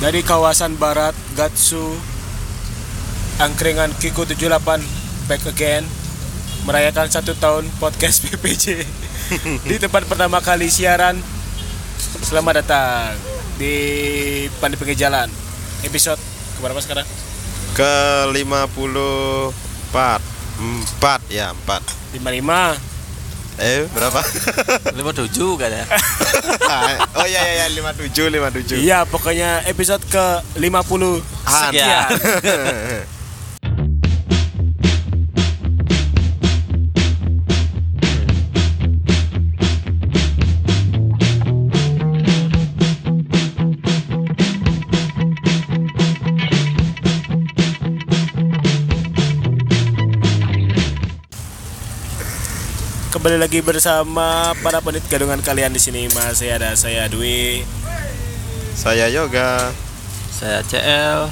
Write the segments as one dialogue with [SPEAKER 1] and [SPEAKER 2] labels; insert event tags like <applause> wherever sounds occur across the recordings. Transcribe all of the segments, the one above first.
[SPEAKER 1] dari kawasan barat Gatsu angkringan Kiku 78 back again merayakan satu tahun podcast <laughs> PPJ di tempat pertama kali siaran selamat datang di Pandi Pinggir Jalan episode keberapa sekarang
[SPEAKER 2] ke 54 empat ya empat
[SPEAKER 1] 55
[SPEAKER 2] eh
[SPEAKER 1] <laughs>
[SPEAKER 2] berapa
[SPEAKER 3] 57 kan ya
[SPEAKER 2] oh iya iya lima tujuh lima tujuh
[SPEAKER 1] iya pokoknya episode ke 50
[SPEAKER 2] Ah, iya.
[SPEAKER 3] Sekian.
[SPEAKER 1] kembali lagi bersama para penit gadungan kalian di sini mas saya ada saya Dwi
[SPEAKER 2] <laughs> saya yoga
[SPEAKER 3] Saya CL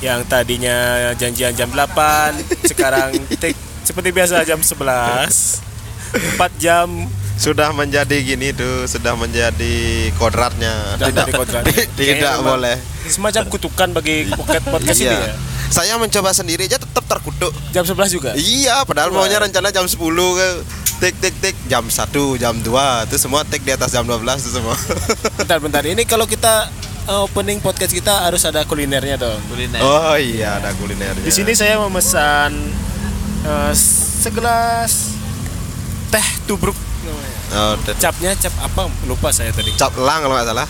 [SPEAKER 1] yang tadinya janjian jam 8 sekarang tik seperti biasa jam 11 4 jam
[SPEAKER 2] sudah menjadi gini tuh sudah menjadi kodratnya
[SPEAKER 1] Sudah
[SPEAKER 2] tidak
[SPEAKER 1] menjadi kodratnya.
[SPEAKER 2] <laughs> tidak
[SPEAKER 1] Kayaknya memang-
[SPEAKER 2] boleh
[SPEAKER 1] semacam kutukan bagi podcast podcast ini ya
[SPEAKER 2] iya saya mencoba sendiri aja tetap terkutuk
[SPEAKER 1] jam 11 juga
[SPEAKER 2] iya padahal
[SPEAKER 1] Wah.
[SPEAKER 2] maunya rencana jam 10 ke tik tik tik jam 1 jam 2 itu semua tik di atas jam 12 itu
[SPEAKER 1] <laughs>
[SPEAKER 2] semua
[SPEAKER 1] bentar bentar ini kalau kita uh, opening podcast kita harus ada kulinernya dong
[SPEAKER 3] kuliner
[SPEAKER 2] oh iya ada kulinernya
[SPEAKER 1] di sini saya memesan uh, segelas teh tubruk namanya.
[SPEAKER 2] oh, de-
[SPEAKER 1] capnya cap apa lupa saya tadi
[SPEAKER 2] cap elang kalau nggak <laughs> salah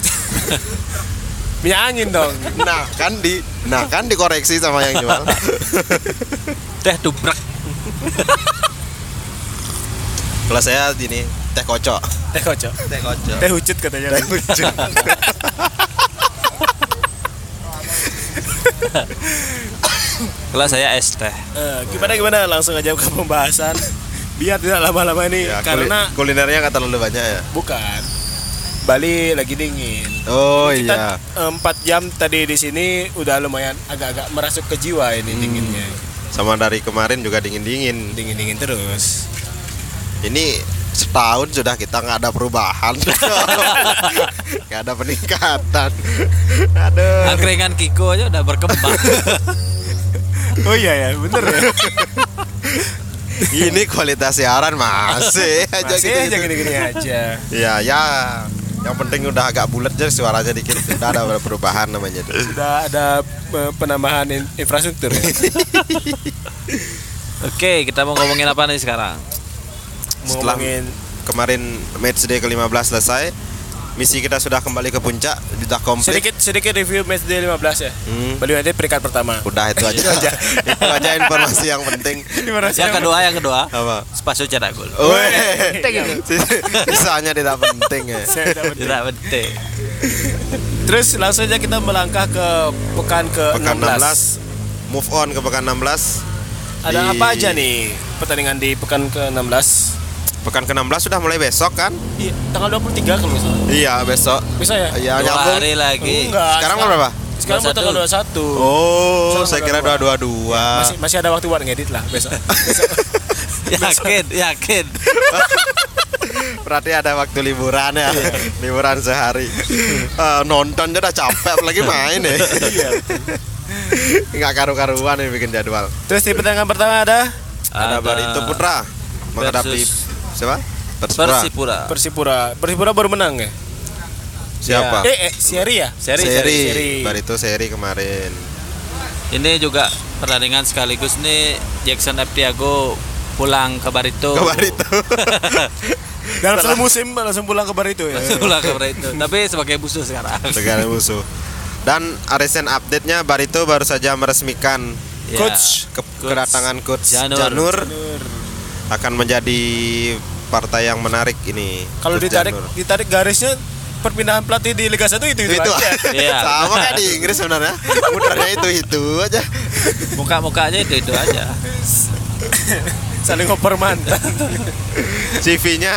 [SPEAKER 1] minyak angin dong
[SPEAKER 2] nah kan di nah kan dikoreksi sama yang jual
[SPEAKER 3] Teh dubrek
[SPEAKER 2] kalau saya gini teh kocok
[SPEAKER 1] teh kocok
[SPEAKER 2] teh kocok
[SPEAKER 1] teh hucut katanya
[SPEAKER 2] teh kocok
[SPEAKER 3] Kalau saya es teh
[SPEAKER 1] Eh, gimana gimana langsung aja ke pembahasan biar tidak lama-lama ini
[SPEAKER 2] <laughs> ya, kuli-
[SPEAKER 1] karena
[SPEAKER 2] kulinernya nggak terlalu banyak ya
[SPEAKER 1] bukan Bali lagi dingin.
[SPEAKER 2] oh iya
[SPEAKER 1] Kita eh, empat jam tadi di sini udah lumayan agak-agak merasuk ke jiwa ini dinginnya.
[SPEAKER 2] sama dari kemarin juga dingin dingin
[SPEAKER 1] Dingin-dingin terus.
[SPEAKER 2] ini setahun sudah kita nggak ada <laughs> perubahan nggak ada peningkatan aduh
[SPEAKER 3] Angkringan Kiko aja udah berkembang
[SPEAKER 1] Oh iya ya, bener ya.
[SPEAKER 2] ini kualitas siaran <laughs> masih
[SPEAKER 1] <laughs>
[SPEAKER 2] aja
[SPEAKER 1] Masih aja
[SPEAKER 2] gitu
[SPEAKER 1] gini-gini aja.
[SPEAKER 2] ya ya yang penting udah agak bulat jadi suaranya dikit udah ada perubahan namanya <laughs> tuh.
[SPEAKER 1] Sudah ada eh, penambahan in- infrastruktur. ya?
[SPEAKER 3] <laughs> Oke kita mau ngomongin apa nih sekarang
[SPEAKER 1] Mau
[SPEAKER 2] Setelah-
[SPEAKER 1] Ngomongin
[SPEAKER 2] kemarin matchday ke-15 selesai misi kita sudah kembali ke puncak sudah komplit
[SPEAKER 1] sedikit sedikit review match day 15 ya.
[SPEAKER 2] Hmm,
[SPEAKER 1] Bali United peringkat pertama.
[SPEAKER 2] udah itu aja itu aja informasi yang penting
[SPEAKER 3] Yang kedua yang kedua
[SPEAKER 2] apa
[SPEAKER 3] Spaso cetak gol
[SPEAKER 2] Weh, <laughs> sisanya tidak penting ya
[SPEAKER 1] Iya. Saya dapat
[SPEAKER 3] Tidak penting
[SPEAKER 1] Terus langsung aja kita melangkah ke pekan ke
[SPEAKER 2] pekan
[SPEAKER 1] 16.
[SPEAKER 2] 16 move on ke pekan 16
[SPEAKER 1] Ada
[SPEAKER 2] Di-
[SPEAKER 1] apa aja nih pertandingan di pekan ke 16?
[SPEAKER 2] pekan ke 16 sudah mulai besok kan
[SPEAKER 1] Iya, tanggal 23 kalau nggak salah.
[SPEAKER 2] iya besok
[SPEAKER 1] Bisa ya?
[SPEAKER 2] ya
[SPEAKER 3] Dua
[SPEAKER 2] nyambung
[SPEAKER 3] hari lagi
[SPEAKER 1] Enggak.
[SPEAKER 2] sekarang berapa
[SPEAKER 1] Sekarang mau tanggal 21.
[SPEAKER 2] oh
[SPEAKER 1] Sekarang
[SPEAKER 2] saya kira
[SPEAKER 1] udah
[SPEAKER 2] 222
[SPEAKER 1] Masih, masih ada waktu buat ngedit lah besok.
[SPEAKER 3] <laughs> Yakin Yakin
[SPEAKER 2] <laughs> berarti ada waktu liburan ya liburan sehari Eh, nonton aja udah capek apalagi main ya <laughs> nggak karu-karuan nih bikin jadwal
[SPEAKER 1] Terus di pertandingan pertama ada
[SPEAKER 2] ada Barito Putra menghadapi
[SPEAKER 3] versus-
[SPEAKER 2] siapa Persipura
[SPEAKER 3] Persipura
[SPEAKER 1] Persipura. Persipura baru menang ya?
[SPEAKER 2] siapa
[SPEAKER 1] Eh, eh Seri ya?
[SPEAKER 2] seri,
[SPEAKER 1] seri.
[SPEAKER 2] Barito seri kemarin
[SPEAKER 3] Ini juga pertandingan sekaligus nih Jackson Aptiago pulang ke Barito
[SPEAKER 2] ke Barito
[SPEAKER 1] Dalam satu musim langsung pulang ke Barito ya.
[SPEAKER 3] <laughs> pulang ke Barito tapi sebagai musuh sekarang
[SPEAKER 2] negara musuh dan recent update nya Barito baru saja meresmikan
[SPEAKER 3] Ya.
[SPEAKER 2] coach ke-
[SPEAKER 3] Coach
[SPEAKER 2] kedatangan coach Janur.
[SPEAKER 3] Janur.
[SPEAKER 2] akan menjadi partai yang menarik ini
[SPEAKER 1] Kalau
[SPEAKER 2] Coach
[SPEAKER 1] ditarik
[SPEAKER 2] Janur.
[SPEAKER 1] ditarik garisnya perpindahan pelatih di Liga 1 itu itu,
[SPEAKER 2] itu, itu <laughs>
[SPEAKER 1] aja.
[SPEAKER 3] Iya.
[SPEAKER 2] sama kayak di Inggris sebenarnya muternya itu itu aja
[SPEAKER 3] muka-mukanya itu itu aja
[SPEAKER 2] <laughs>
[SPEAKER 1] Saling ngoper mantan.
[SPEAKER 2] CV-nya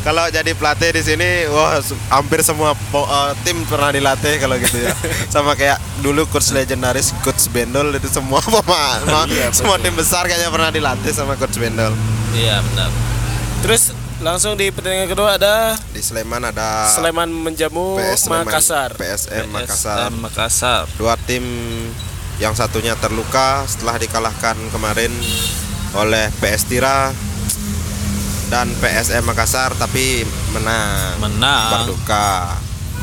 [SPEAKER 2] kalau jadi pelatih di sini wah su- hampir semua po- eh, tim pernah dilatih kalau gitu ya sama kayak dulu coach legendaris coach Bendol itu semua <laughs> pemain semua- semua tim besar kayaknya pernah dilatih sama coach Bendol
[SPEAKER 3] iya benar
[SPEAKER 1] Terus Langsung di pertandingan kedua ada
[SPEAKER 2] Di Sleman ada
[SPEAKER 1] Sleman menjamu
[SPEAKER 2] PS Sleman,
[SPEAKER 1] Makassar.
[SPEAKER 2] PSM Makassar.
[SPEAKER 3] PSM Makassar.
[SPEAKER 2] Dua tim yang satunya terluka setelah dikalahkan kemarin oleh PS Tira dan PSM Makassar tapi menang. Ah.
[SPEAKER 3] Menang.
[SPEAKER 2] Berduka.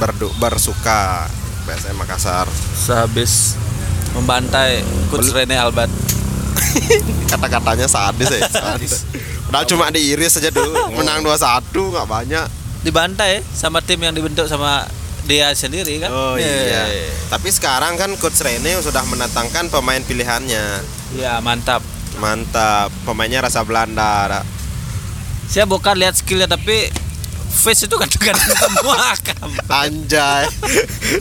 [SPEAKER 2] Berdu, bersuka PSM Makassar.
[SPEAKER 3] Sehabis membantai Coach Rene Albat.
[SPEAKER 2] Kata-katanya sadis <laughs> ya. Sadis. Padahal cuma diiris aja dulu. Menang 2-1 nggak banyak.
[SPEAKER 3] Dibantai sama tim yang dibentuk sama dia sendiri kan.
[SPEAKER 2] Oh iya.
[SPEAKER 3] Eh,
[SPEAKER 2] Tapi sekarang kan coach Rene sudah mendatangkan pemain pilihannya.
[SPEAKER 3] Iya, mantap.
[SPEAKER 2] Mantap, pemainnya rasa Belanda. Ra.
[SPEAKER 3] Saya bukan lihat skillnya tapi face itu ganteng-ganteng <laughs> semua kan.
[SPEAKER 2] <laughs> Anjay.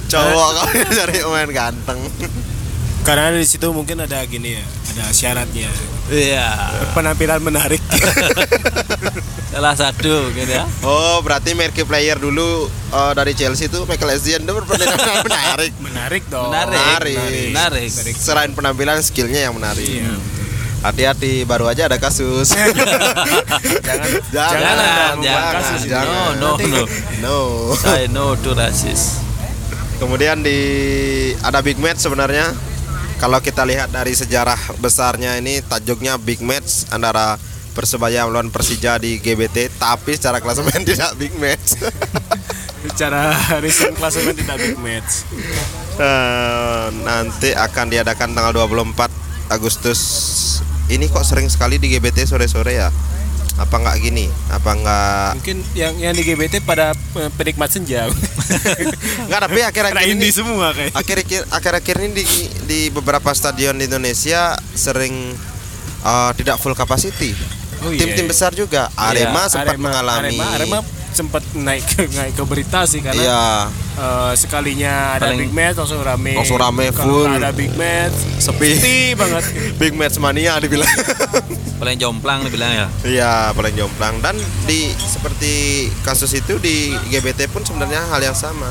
[SPEAKER 2] Cowok <laughs> kau cari pemain ganteng.
[SPEAKER 1] Karena di situ mungkin ada gini ya, ada syaratnya.
[SPEAKER 3] Iya.
[SPEAKER 1] Penampilan menarik.
[SPEAKER 3] Salah satu gitu ya.
[SPEAKER 2] Oh, berarti marquee player dulu eh, dari Chelsea itu Michael Essien itu berpenampilan menarik.
[SPEAKER 1] <laughs> menarik dong.
[SPEAKER 3] Menarik.
[SPEAKER 2] Oh, Menarik.
[SPEAKER 3] Menarik.
[SPEAKER 2] Selain penampilan skillnya yang menarik.
[SPEAKER 1] Iya.
[SPEAKER 2] Hati-hati, baru aja ada
[SPEAKER 1] <laughs>
[SPEAKER 2] kasus.
[SPEAKER 1] Jangan
[SPEAKER 2] Jangan,
[SPEAKER 1] jangan, Anda
[SPEAKER 3] jangan,
[SPEAKER 1] membuat
[SPEAKER 3] jangan.
[SPEAKER 1] kasus ini.
[SPEAKER 2] Jangan.
[SPEAKER 3] No, no, no.
[SPEAKER 2] no.
[SPEAKER 3] Saya no to racist.
[SPEAKER 2] Kemudian di ada big match sebenarnya. Kalau kita lihat dari sejarah besarnya ini tajuknya big match antara Persebaya melawan Persija di GBT, tapi secara klasemen <laughs> tidak big match.
[SPEAKER 1] Secara recent klasemen tidak big match.
[SPEAKER 2] Eh, Nanti akan diadakan tanggal 24 Agustus. Ini kok sering sekali di GBT sore-sore ya? Apa nggak gini? Apa nggak?
[SPEAKER 1] Mungkin yang yang di GBT pada eh, penikmat senja.
[SPEAKER 2] <laughs> Nggak tapi akhir-akhir
[SPEAKER 1] Karena
[SPEAKER 2] ini
[SPEAKER 1] ini semua kayak.
[SPEAKER 2] akhir-akhir akhir-akhir ini di, di beberapa stadion di Indonesia sering uh, tidak full capacity.
[SPEAKER 1] Oh, iya,
[SPEAKER 2] Tim-tim
[SPEAKER 1] iya.
[SPEAKER 2] besar juga. Arema sempat
[SPEAKER 1] Arema-
[SPEAKER 2] mengalami.
[SPEAKER 1] Arema, Arema sempat naik ke, naik ke berita sih karena <laughs>
[SPEAKER 2] Iya,
[SPEAKER 1] eh, sekalinya ada
[SPEAKER 3] Paling-
[SPEAKER 1] big match langsung rame.
[SPEAKER 2] Langsung rame,
[SPEAKER 1] Kalau
[SPEAKER 2] full.
[SPEAKER 1] nggak ada big match
[SPEAKER 2] Sepi.
[SPEAKER 1] sepi banget.
[SPEAKER 2] <laughs> big match mania dibilang.
[SPEAKER 3] Paling jomplang dibilang ya.
[SPEAKER 2] <laughs> Iya, paling jomplang dan di seperti kasus itu di GBT pun sebenarnya hal yang sama.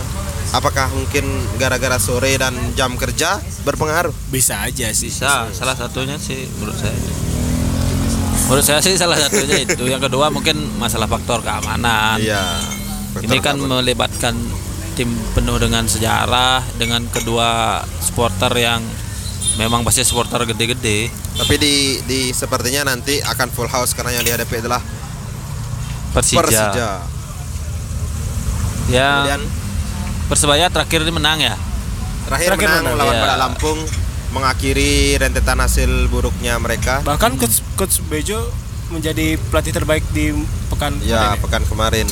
[SPEAKER 2] Apakah mungkin gara-gara sore dan jam kerja berpengaruh?
[SPEAKER 1] Bisa aja sih.
[SPEAKER 3] Bisa, salah satunya sih menurut saya. Menurut saya sih salah satunya itu. Yang kedua mungkin masalah faktor keamanan.
[SPEAKER 2] Iya.
[SPEAKER 3] Ini kan melibatkan tim penuh dengan sejarah dengan kedua supporter yang memang pasti supporter gede-gede.
[SPEAKER 2] tapi di di sepertinya nanti akan full house karena yang dihadapi adalah
[SPEAKER 3] Persija.
[SPEAKER 2] Persija.
[SPEAKER 1] Ah.
[SPEAKER 3] Ya,
[SPEAKER 2] Kemudian
[SPEAKER 3] Persebaya terakhir ini menang ya.
[SPEAKER 2] terakhir,
[SPEAKER 1] Terakhir
[SPEAKER 2] menang,
[SPEAKER 1] menang,
[SPEAKER 2] lawan
[SPEAKER 3] iya.
[SPEAKER 2] Badak Lampung mengakhiri rentetan hasil buruknya mereka
[SPEAKER 1] Bahkan coach, coach Bejo menjadi pelatih terbaik di pekan kemarin
[SPEAKER 2] ya pekan kemarin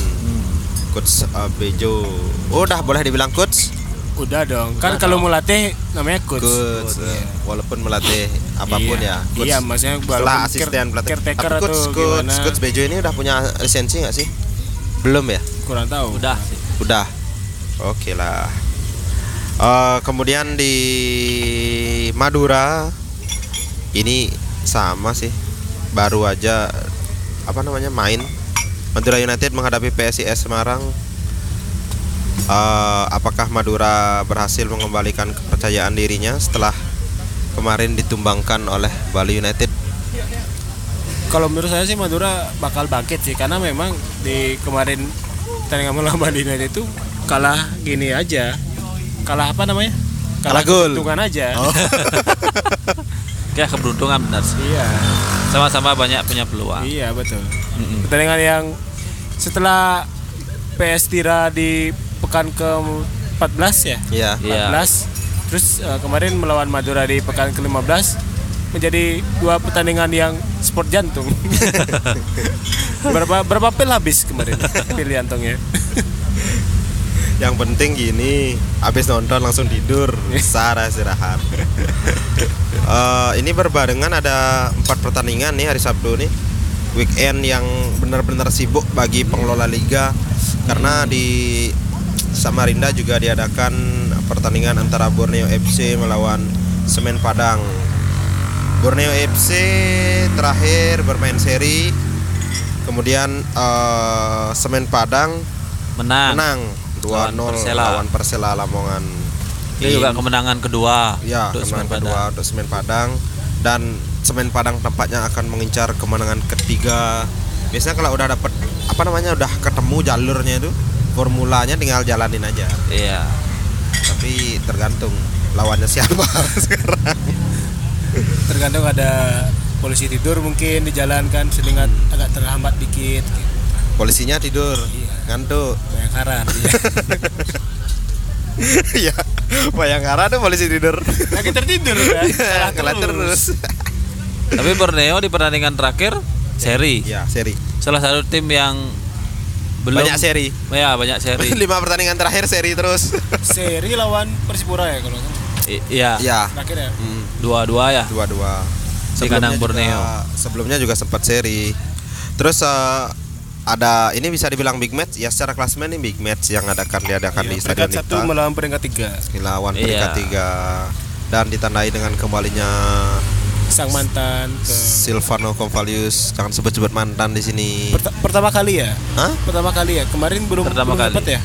[SPEAKER 2] coach uh, Bejo udah boleh dibilang coach
[SPEAKER 1] Udah dong. Kan kalau mau latih namanya coach.
[SPEAKER 2] coach eh, walaupun melatih apapun
[SPEAKER 1] iya.
[SPEAKER 2] ya coach
[SPEAKER 1] Iya, maksudnya
[SPEAKER 2] setelah
[SPEAKER 1] walaupun
[SPEAKER 2] asisten
[SPEAKER 1] care-
[SPEAKER 2] pelatih
[SPEAKER 1] caretaker
[SPEAKER 2] tapi coach
[SPEAKER 1] atau
[SPEAKER 2] coach,
[SPEAKER 1] gimana.
[SPEAKER 2] coach Bejo ini udah punya lisensi nggak sih belum ya
[SPEAKER 1] Kurang tahu.
[SPEAKER 3] Udah sih.
[SPEAKER 2] Udah. Oke lah. Eh, kemudian di Madura ini sama sih. Baru aja apa namanya main Madura United menghadapi PSIS Semarang. Eh, apakah Madura berhasil mengembalikan kepercayaan dirinya setelah kemarin ditumbangkan oleh Bali United?
[SPEAKER 1] Kalau menurut saya sih Madura bakal bangkit sih karena memang di kemarin pertandingan melawan Bali United itu kalah gini aja. Kalah apa namanya?
[SPEAKER 2] Kalah gol.
[SPEAKER 1] keuntungan aja.
[SPEAKER 3] Ya keberuntungan benar sih.
[SPEAKER 1] <laughs> Iya.
[SPEAKER 3] Sama-sama banyak punya peluang.
[SPEAKER 1] Iya, betul. Pertandingan yang setelah PS Tira di pekan ke-14 ya.
[SPEAKER 2] Iya.
[SPEAKER 3] Iya.
[SPEAKER 1] 14. Terus eh, kemarin melawan Madura di pekan ke-15 menjadi dua pertandingan yang sport
[SPEAKER 2] <laughs>
[SPEAKER 1] jantung. berapa berapa pil habis kemarin pil ya? jantungnya?
[SPEAKER 2] Yang penting gini, habis nonton langsung tidur, secara istirahat. Eh, ini berbarengan ada empat pertandingan nih hari Sabtu nih. Weekend yang benar-benar sibuk bagi pengelola liga karena di Samarinda juga diadakan pertandingan antara Borneo FC melawan Semen Padang. Borneo FC terakhir bermain seri, kemudian eh, Semen Padang
[SPEAKER 3] Menang.
[SPEAKER 2] menang 2-0
[SPEAKER 3] Ah. Lawan Persela.
[SPEAKER 2] lawan Persela Lamongan.
[SPEAKER 3] Ini juga kemenangan kedua
[SPEAKER 2] Ya,
[SPEAKER 3] untuk
[SPEAKER 2] kemenangan
[SPEAKER 3] Semen
[SPEAKER 2] kedua
[SPEAKER 3] Padang.
[SPEAKER 2] untuk Semen Padang dan Semen Padang tampaknya akan mengincar kemenangan ketiga biasanya kalau udah dapet apa namanya udah ketemu jalurnya itu formulanya tinggal jalanin aja
[SPEAKER 3] Iya.
[SPEAKER 2] tapi tergantung lawannya siapa <laughs> sekarang
[SPEAKER 1] tergantung ada polisi tidur mungkin dijalankan sering ag- agak terhambat dikit gitu.
[SPEAKER 2] polisinya tidur
[SPEAKER 1] Iya.
[SPEAKER 2] ngantuk <laughs>
[SPEAKER 1] banyak haran iya.
[SPEAKER 2] ya bayangkara tuh polisi tidur
[SPEAKER 1] <laughs> lagi tertidur kan
[SPEAKER 2] <laughs>
[SPEAKER 1] Kalah
[SPEAKER 2] Iya, kalah terus
[SPEAKER 3] Tapi Borneo di pertandingan terakhir seri.
[SPEAKER 2] ya seri
[SPEAKER 3] Salah satu tim yang belum
[SPEAKER 2] banyak seri
[SPEAKER 3] Ya, banyak
[SPEAKER 2] <laughs>
[SPEAKER 3] seri.
[SPEAKER 2] lima pertandingan terakhir seri
[SPEAKER 3] <laughs>
[SPEAKER 2] terus
[SPEAKER 1] seri lawan Persipura ya kalau nggak salah.
[SPEAKER 3] I- Iya,
[SPEAKER 2] ya
[SPEAKER 1] terakhir ya
[SPEAKER 2] Hmm.
[SPEAKER 3] dua-dua ya.
[SPEAKER 2] dua-dua
[SPEAKER 3] Di kandang Borneo.
[SPEAKER 2] juga, sebelumnya juga sempat seri terus eh, ada ini bisa dibilang big match ya secara klasmen ini big match yang adakan diadakan
[SPEAKER 1] Iya,
[SPEAKER 2] di
[SPEAKER 1] peringkat
[SPEAKER 2] Stadion
[SPEAKER 1] satu
[SPEAKER 2] Nipta
[SPEAKER 1] melawan peringkat tiga
[SPEAKER 2] lawan peringkat
[SPEAKER 3] Iya.
[SPEAKER 2] tiga dan ditandai dengan kembalinya
[SPEAKER 1] sang mantan ke
[SPEAKER 2] Iya. Silvano Convalius jangan sebut-sebut mantan di sini
[SPEAKER 1] Perta- pertama kali ya
[SPEAKER 2] Hah?
[SPEAKER 1] pertama kali ya kemarin belum
[SPEAKER 3] Pertama
[SPEAKER 1] belum
[SPEAKER 3] kali.
[SPEAKER 1] dapat ya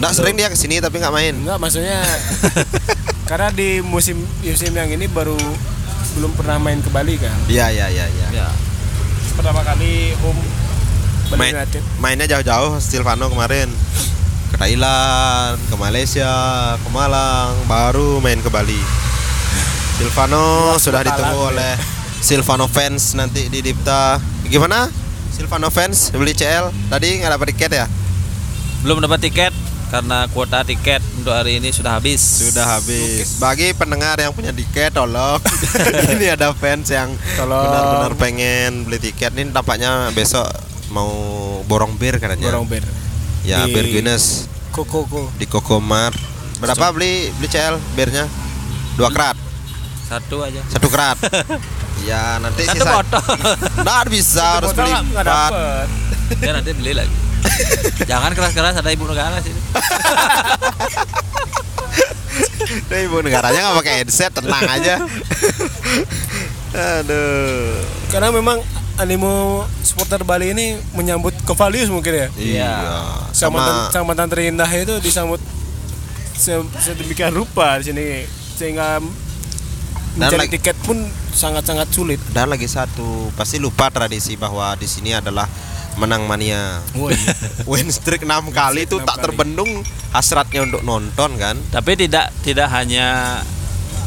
[SPEAKER 2] Nggak sering dia kesini tapi nggak main
[SPEAKER 1] enggak
[SPEAKER 2] <laughs>
[SPEAKER 1] maksudnya karena di musim musim yang ini baru belum pernah main ke Bali kan
[SPEAKER 2] Iya iya iya iya.
[SPEAKER 3] Ya.
[SPEAKER 1] pertama kali home Bali
[SPEAKER 2] Main,
[SPEAKER 1] United
[SPEAKER 2] mainnya jauh-jauh Silvano kemarin ke Thailand, ke Malaysia, ke Malang, baru main ke Bali. Silvano sudah
[SPEAKER 1] kota
[SPEAKER 2] ditunggu
[SPEAKER 1] lagi.
[SPEAKER 2] oleh Silvano fans nanti di Dipta. Gimana? Silvano fans beli CL tadi nggak dapat tiket ya?
[SPEAKER 3] Belum dapat tiket karena kuota tiket untuk hari ini sudah habis.
[SPEAKER 2] Sudah habis. Bagi pendengar yang punya tiket tolong. <laughs> Ini ada fans yang
[SPEAKER 1] Tolong.
[SPEAKER 2] benar-benar pengen beli tiket. Ini tampaknya besok mau borong bir katanya.
[SPEAKER 1] Borong Bear
[SPEAKER 2] Ya,
[SPEAKER 1] Di-
[SPEAKER 2] bir Guinness.
[SPEAKER 1] Koko Koko
[SPEAKER 2] di Kokomar. Berapa beli beli CL birnya? Dua kerat,
[SPEAKER 3] Satu aja.
[SPEAKER 2] satu kerat. ya nanti
[SPEAKER 3] Satu
[SPEAKER 2] sisa.
[SPEAKER 3] <laughs> botol.
[SPEAKER 2] Nggak bisa harus beli
[SPEAKER 1] nggak
[SPEAKER 2] empat.
[SPEAKER 1] dapet
[SPEAKER 3] ya nanti beli
[SPEAKER 2] <laughs>
[SPEAKER 3] lagi. Jangan keras-keras ada ibu negara sini.
[SPEAKER 2] Tuh, ibu negaranya nggak pakai headset, tenang aja. Aduh.
[SPEAKER 1] karena memang animo supporter Bali ini menyambut Kevalius mungkin ya
[SPEAKER 3] Iya.
[SPEAKER 1] sang mantan,
[SPEAKER 2] Sama
[SPEAKER 1] sang mantan terindah itu disambut se- sedemikian rupa di sini sehingga mencari
[SPEAKER 2] lagi-
[SPEAKER 1] tiket pun sangat-sangat sulit.
[SPEAKER 2] dan lagi satu pasti lupa tradisi bahwa di sini adalah menang mania. <laughs> Win streak 6 kali itu
[SPEAKER 1] enam
[SPEAKER 2] tak
[SPEAKER 1] kali.
[SPEAKER 2] terbendung hasratnya untuk nonton kan.
[SPEAKER 3] Tapi tidak tidak hanya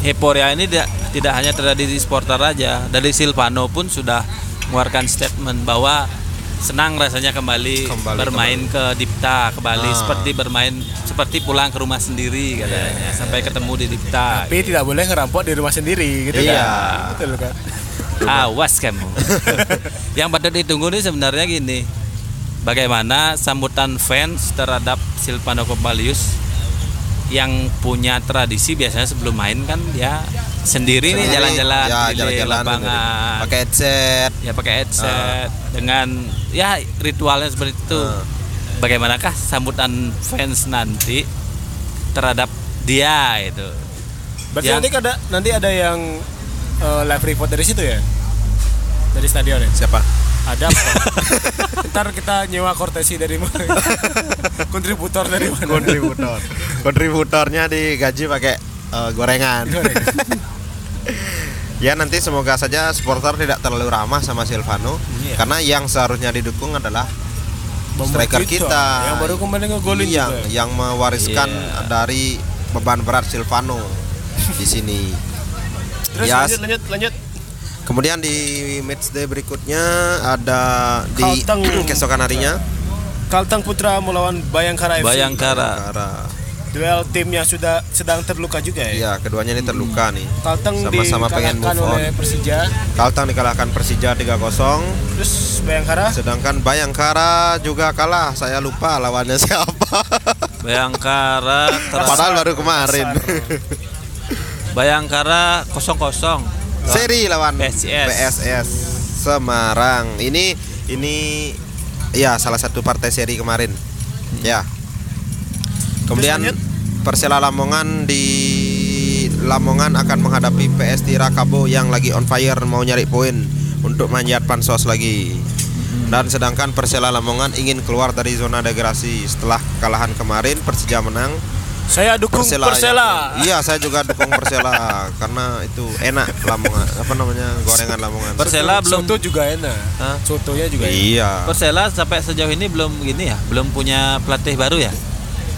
[SPEAKER 3] Heporia ini tidak, tidak hanya terjadi di supporter aja. Dari Silvano pun sudah mengeluarkan statement bahwa senang rasanya kembali,
[SPEAKER 2] Kembali
[SPEAKER 3] bermain ke Dipta ke Bali
[SPEAKER 2] Ah. Iya,
[SPEAKER 3] seperti bermain seperti pulang ke rumah sendiri katanya sampai ketemu di Dipta.
[SPEAKER 1] Tapi tidak boleh ngerampok di rumah sendiri gitu
[SPEAKER 2] Iya.
[SPEAKER 1] kan. Betul kan?
[SPEAKER 3] Awas
[SPEAKER 2] <laughs>
[SPEAKER 3] kamu. Yang patut ditunggu nih sebenarnya gini. Bagaimana sambutan fans terhadap Silvano Kopalius yang punya tradisi biasanya sebelum main kan ya sendiri nih
[SPEAKER 2] Sendiri,
[SPEAKER 3] jalan-jalan
[SPEAKER 2] ya,
[SPEAKER 3] keliling
[SPEAKER 2] jalan-jalan
[SPEAKER 3] lapangan.
[SPEAKER 2] sendiri. Pakai headset.
[SPEAKER 3] Ya pakai headset dengan ya ritualnya seperti itu.
[SPEAKER 2] Ah.
[SPEAKER 3] Bagaimanakah sambutan fans nanti terhadap dia itu?
[SPEAKER 1] Berarti
[SPEAKER 3] Ya.
[SPEAKER 1] nanti ada nanti ada yang eh, live report dari situ ya? Dari stadion ya?
[SPEAKER 2] Siapa?
[SPEAKER 1] Ada
[SPEAKER 2] <laughs>
[SPEAKER 1] apa? Ntar kita nyewa kortesi dari mana? Kontributor dari mana?
[SPEAKER 2] kontributor kontributornya digaji pakai eh, gorengan ya nanti semoga saja supporter tidak terlalu ramah sama Silvano
[SPEAKER 1] Iya.
[SPEAKER 2] karena yang seharusnya didukung adalah
[SPEAKER 1] Bomber
[SPEAKER 2] striker kita. Iya.
[SPEAKER 1] Yang baru kemarin ngegolin
[SPEAKER 2] yang
[SPEAKER 1] juga.
[SPEAKER 2] yang mewariskan
[SPEAKER 3] Iya.
[SPEAKER 2] dari beban berat Silvano di sini
[SPEAKER 1] Terus
[SPEAKER 2] Ya,
[SPEAKER 1] lanjut lanjut lanjut.
[SPEAKER 2] kemudian di matchday berikutnya ada di
[SPEAKER 1] Kalteng.
[SPEAKER 2] <clears throat> keesokan harinya
[SPEAKER 1] Kalteng Putra melawan Bayangkara FC.
[SPEAKER 3] Bayangkara.
[SPEAKER 2] Karena-
[SPEAKER 1] Duel tim yang sudah sedang terluka juga ya.
[SPEAKER 2] Iya, keduanya ini terluka nih.
[SPEAKER 1] Kalteng
[SPEAKER 2] Sama-sama pengen
[SPEAKER 1] dikalahkan
[SPEAKER 2] move on.
[SPEAKER 1] oleh Persija.
[SPEAKER 2] Kalteng dikalahkan Persija 3-0.
[SPEAKER 1] Terus Bayangkara
[SPEAKER 2] Sedangkan Bayangkara juga kalah. Saya lupa lawannya siapa. <laughs>
[SPEAKER 3] Bayangkara ter-
[SPEAKER 2] Padahal baru kemarin.
[SPEAKER 3] Bayangkara 0-0.
[SPEAKER 2] Seri lawan
[SPEAKER 3] PSIS.
[SPEAKER 2] PSS Semarang. Ini ini ya salah satu partai seri kemarin. Ya. Kemudian
[SPEAKER 1] Terus
[SPEAKER 2] Persela Lamongan di Lamongan akan menghadapi PS Tirakabo yang lagi on fire mau nyari poin untuk manjat pansos lagi. Dan sedangkan Persela Lamongan ingin keluar dari zona degradasi setelah kekalahan kemarin Persija menang
[SPEAKER 1] Saya dukung Persela.
[SPEAKER 2] Iya, saya juga dukung Persela <laughs> karena itu enak Lamongan. Apa namanya? Gorengan Lamongan.
[SPEAKER 3] Persela
[SPEAKER 1] Soto-
[SPEAKER 3] belum
[SPEAKER 1] Soto juga enak.
[SPEAKER 2] Hah?
[SPEAKER 1] Sotonya juga enak.
[SPEAKER 2] Iya.
[SPEAKER 3] Persela sampai sejauh ini belum gini ya, belum punya pelatih baru ya.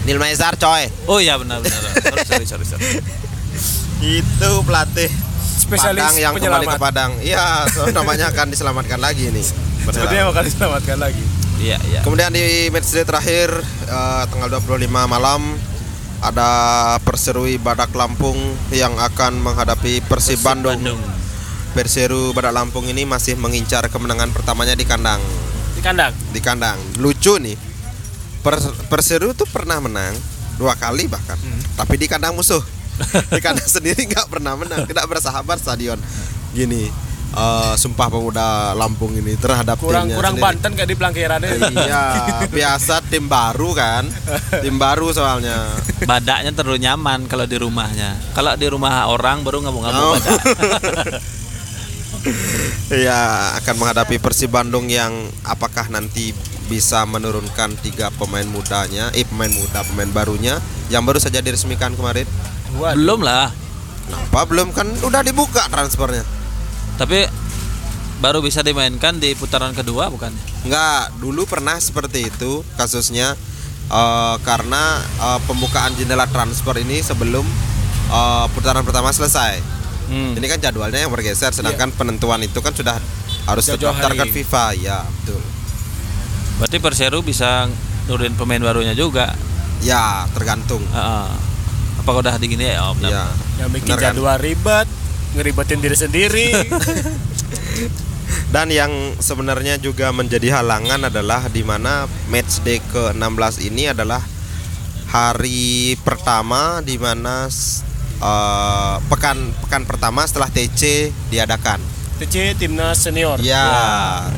[SPEAKER 2] Nil Maizar coy.
[SPEAKER 3] Oh iya benar benar. <laughs> sorry, sorry, sorry, sorry.
[SPEAKER 2] Itu pelatih
[SPEAKER 1] Spesialis
[SPEAKER 2] Padang yang kembali
[SPEAKER 1] penyelamat.
[SPEAKER 2] ke Padang. Iya, <laughs> so, namanya akan diselamatkan lagi nih.
[SPEAKER 1] Sepertinya bakal diselamatkan lagi.
[SPEAKER 3] Iya iya.
[SPEAKER 2] Kemudian di match day terakhir eh, tanggal 25 malam ada Perserui Badak Lampung yang akan menghadapi Persib Bandung. Perseru Badak Lampung ini masih mengincar kemenangan pertamanya di kandang.
[SPEAKER 1] Di kandang.
[SPEAKER 2] Di kandang. Lucu nih. Per- Perseru tuh pernah menang dua kali bahkan,
[SPEAKER 1] Hmm.
[SPEAKER 2] tapi di kandang musuh. di kandang <laughs> sendiri nggak pernah menang, tidak bersahabat stadion. Gini, eh, sumpah pemuda Lampung ini terhadap
[SPEAKER 1] Kurang
[SPEAKER 2] timnya
[SPEAKER 1] kurang
[SPEAKER 2] sendiri.
[SPEAKER 1] Banten kayak di pelangkirannya.
[SPEAKER 2] Iya, biasa tim baru kan, tim baru soalnya.
[SPEAKER 3] Badaknya terlalu nyaman kalau di rumahnya. Kalau di rumah orang baru
[SPEAKER 2] Oh.
[SPEAKER 3] ngabung-ngabung badak. <laughs>
[SPEAKER 2] Iya, akan menghadapi Persib Bandung yang apakah nanti bisa menurunkan tiga pemain mudanya, eh pemain muda, pemain barunya yang baru saja diresmikan kemarin.
[SPEAKER 1] Waduh.
[SPEAKER 3] Belum lah.
[SPEAKER 2] Kenapa belum kan udah dibuka transfernya?
[SPEAKER 3] Tapi baru bisa dimainkan di putaran kedua bukannya?
[SPEAKER 2] Enggak, dulu pernah seperti itu kasusnya eh, karena eh, pembukaan jendela transfer ini sebelum eh, putaran pertama selesai.
[SPEAKER 3] Hmm.
[SPEAKER 2] Ini kan jadwalnya yang bergeser, sedangkan penentuan itu kan sudah harus
[SPEAKER 1] Jauh-jauh
[SPEAKER 2] terdaftar ke
[SPEAKER 1] hari.
[SPEAKER 2] FIFA, ya betul.
[SPEAKER 3] Berarti Perseru bisa nurunin pemain barunya juga.
[SPEAKER 2] Ya tergantung.
[SPEAKER 3] Heeh. Apa udah digini ya Om?
[SPEAKER 2] Ya.
[SPEAKER 1] <laughs> Yang bikin
[SPEAKER 2] Bener kan?
[SPEAKER 1] jadwal ribet, ngeribetin diri
[SPEAKER 2] <laughs>
[SPEAKER 1] sendiri.
[SPEAKER 2] Dan yang sebenarnya juga menjadi halangan adalah di mana match day ke-16 ini adalah hari pertama di mana s- eh, pekan pekan pertama setelah TC diadakan.
[SPEAKER 1] TC timnas senior.
[SPEAKER 2] Ya,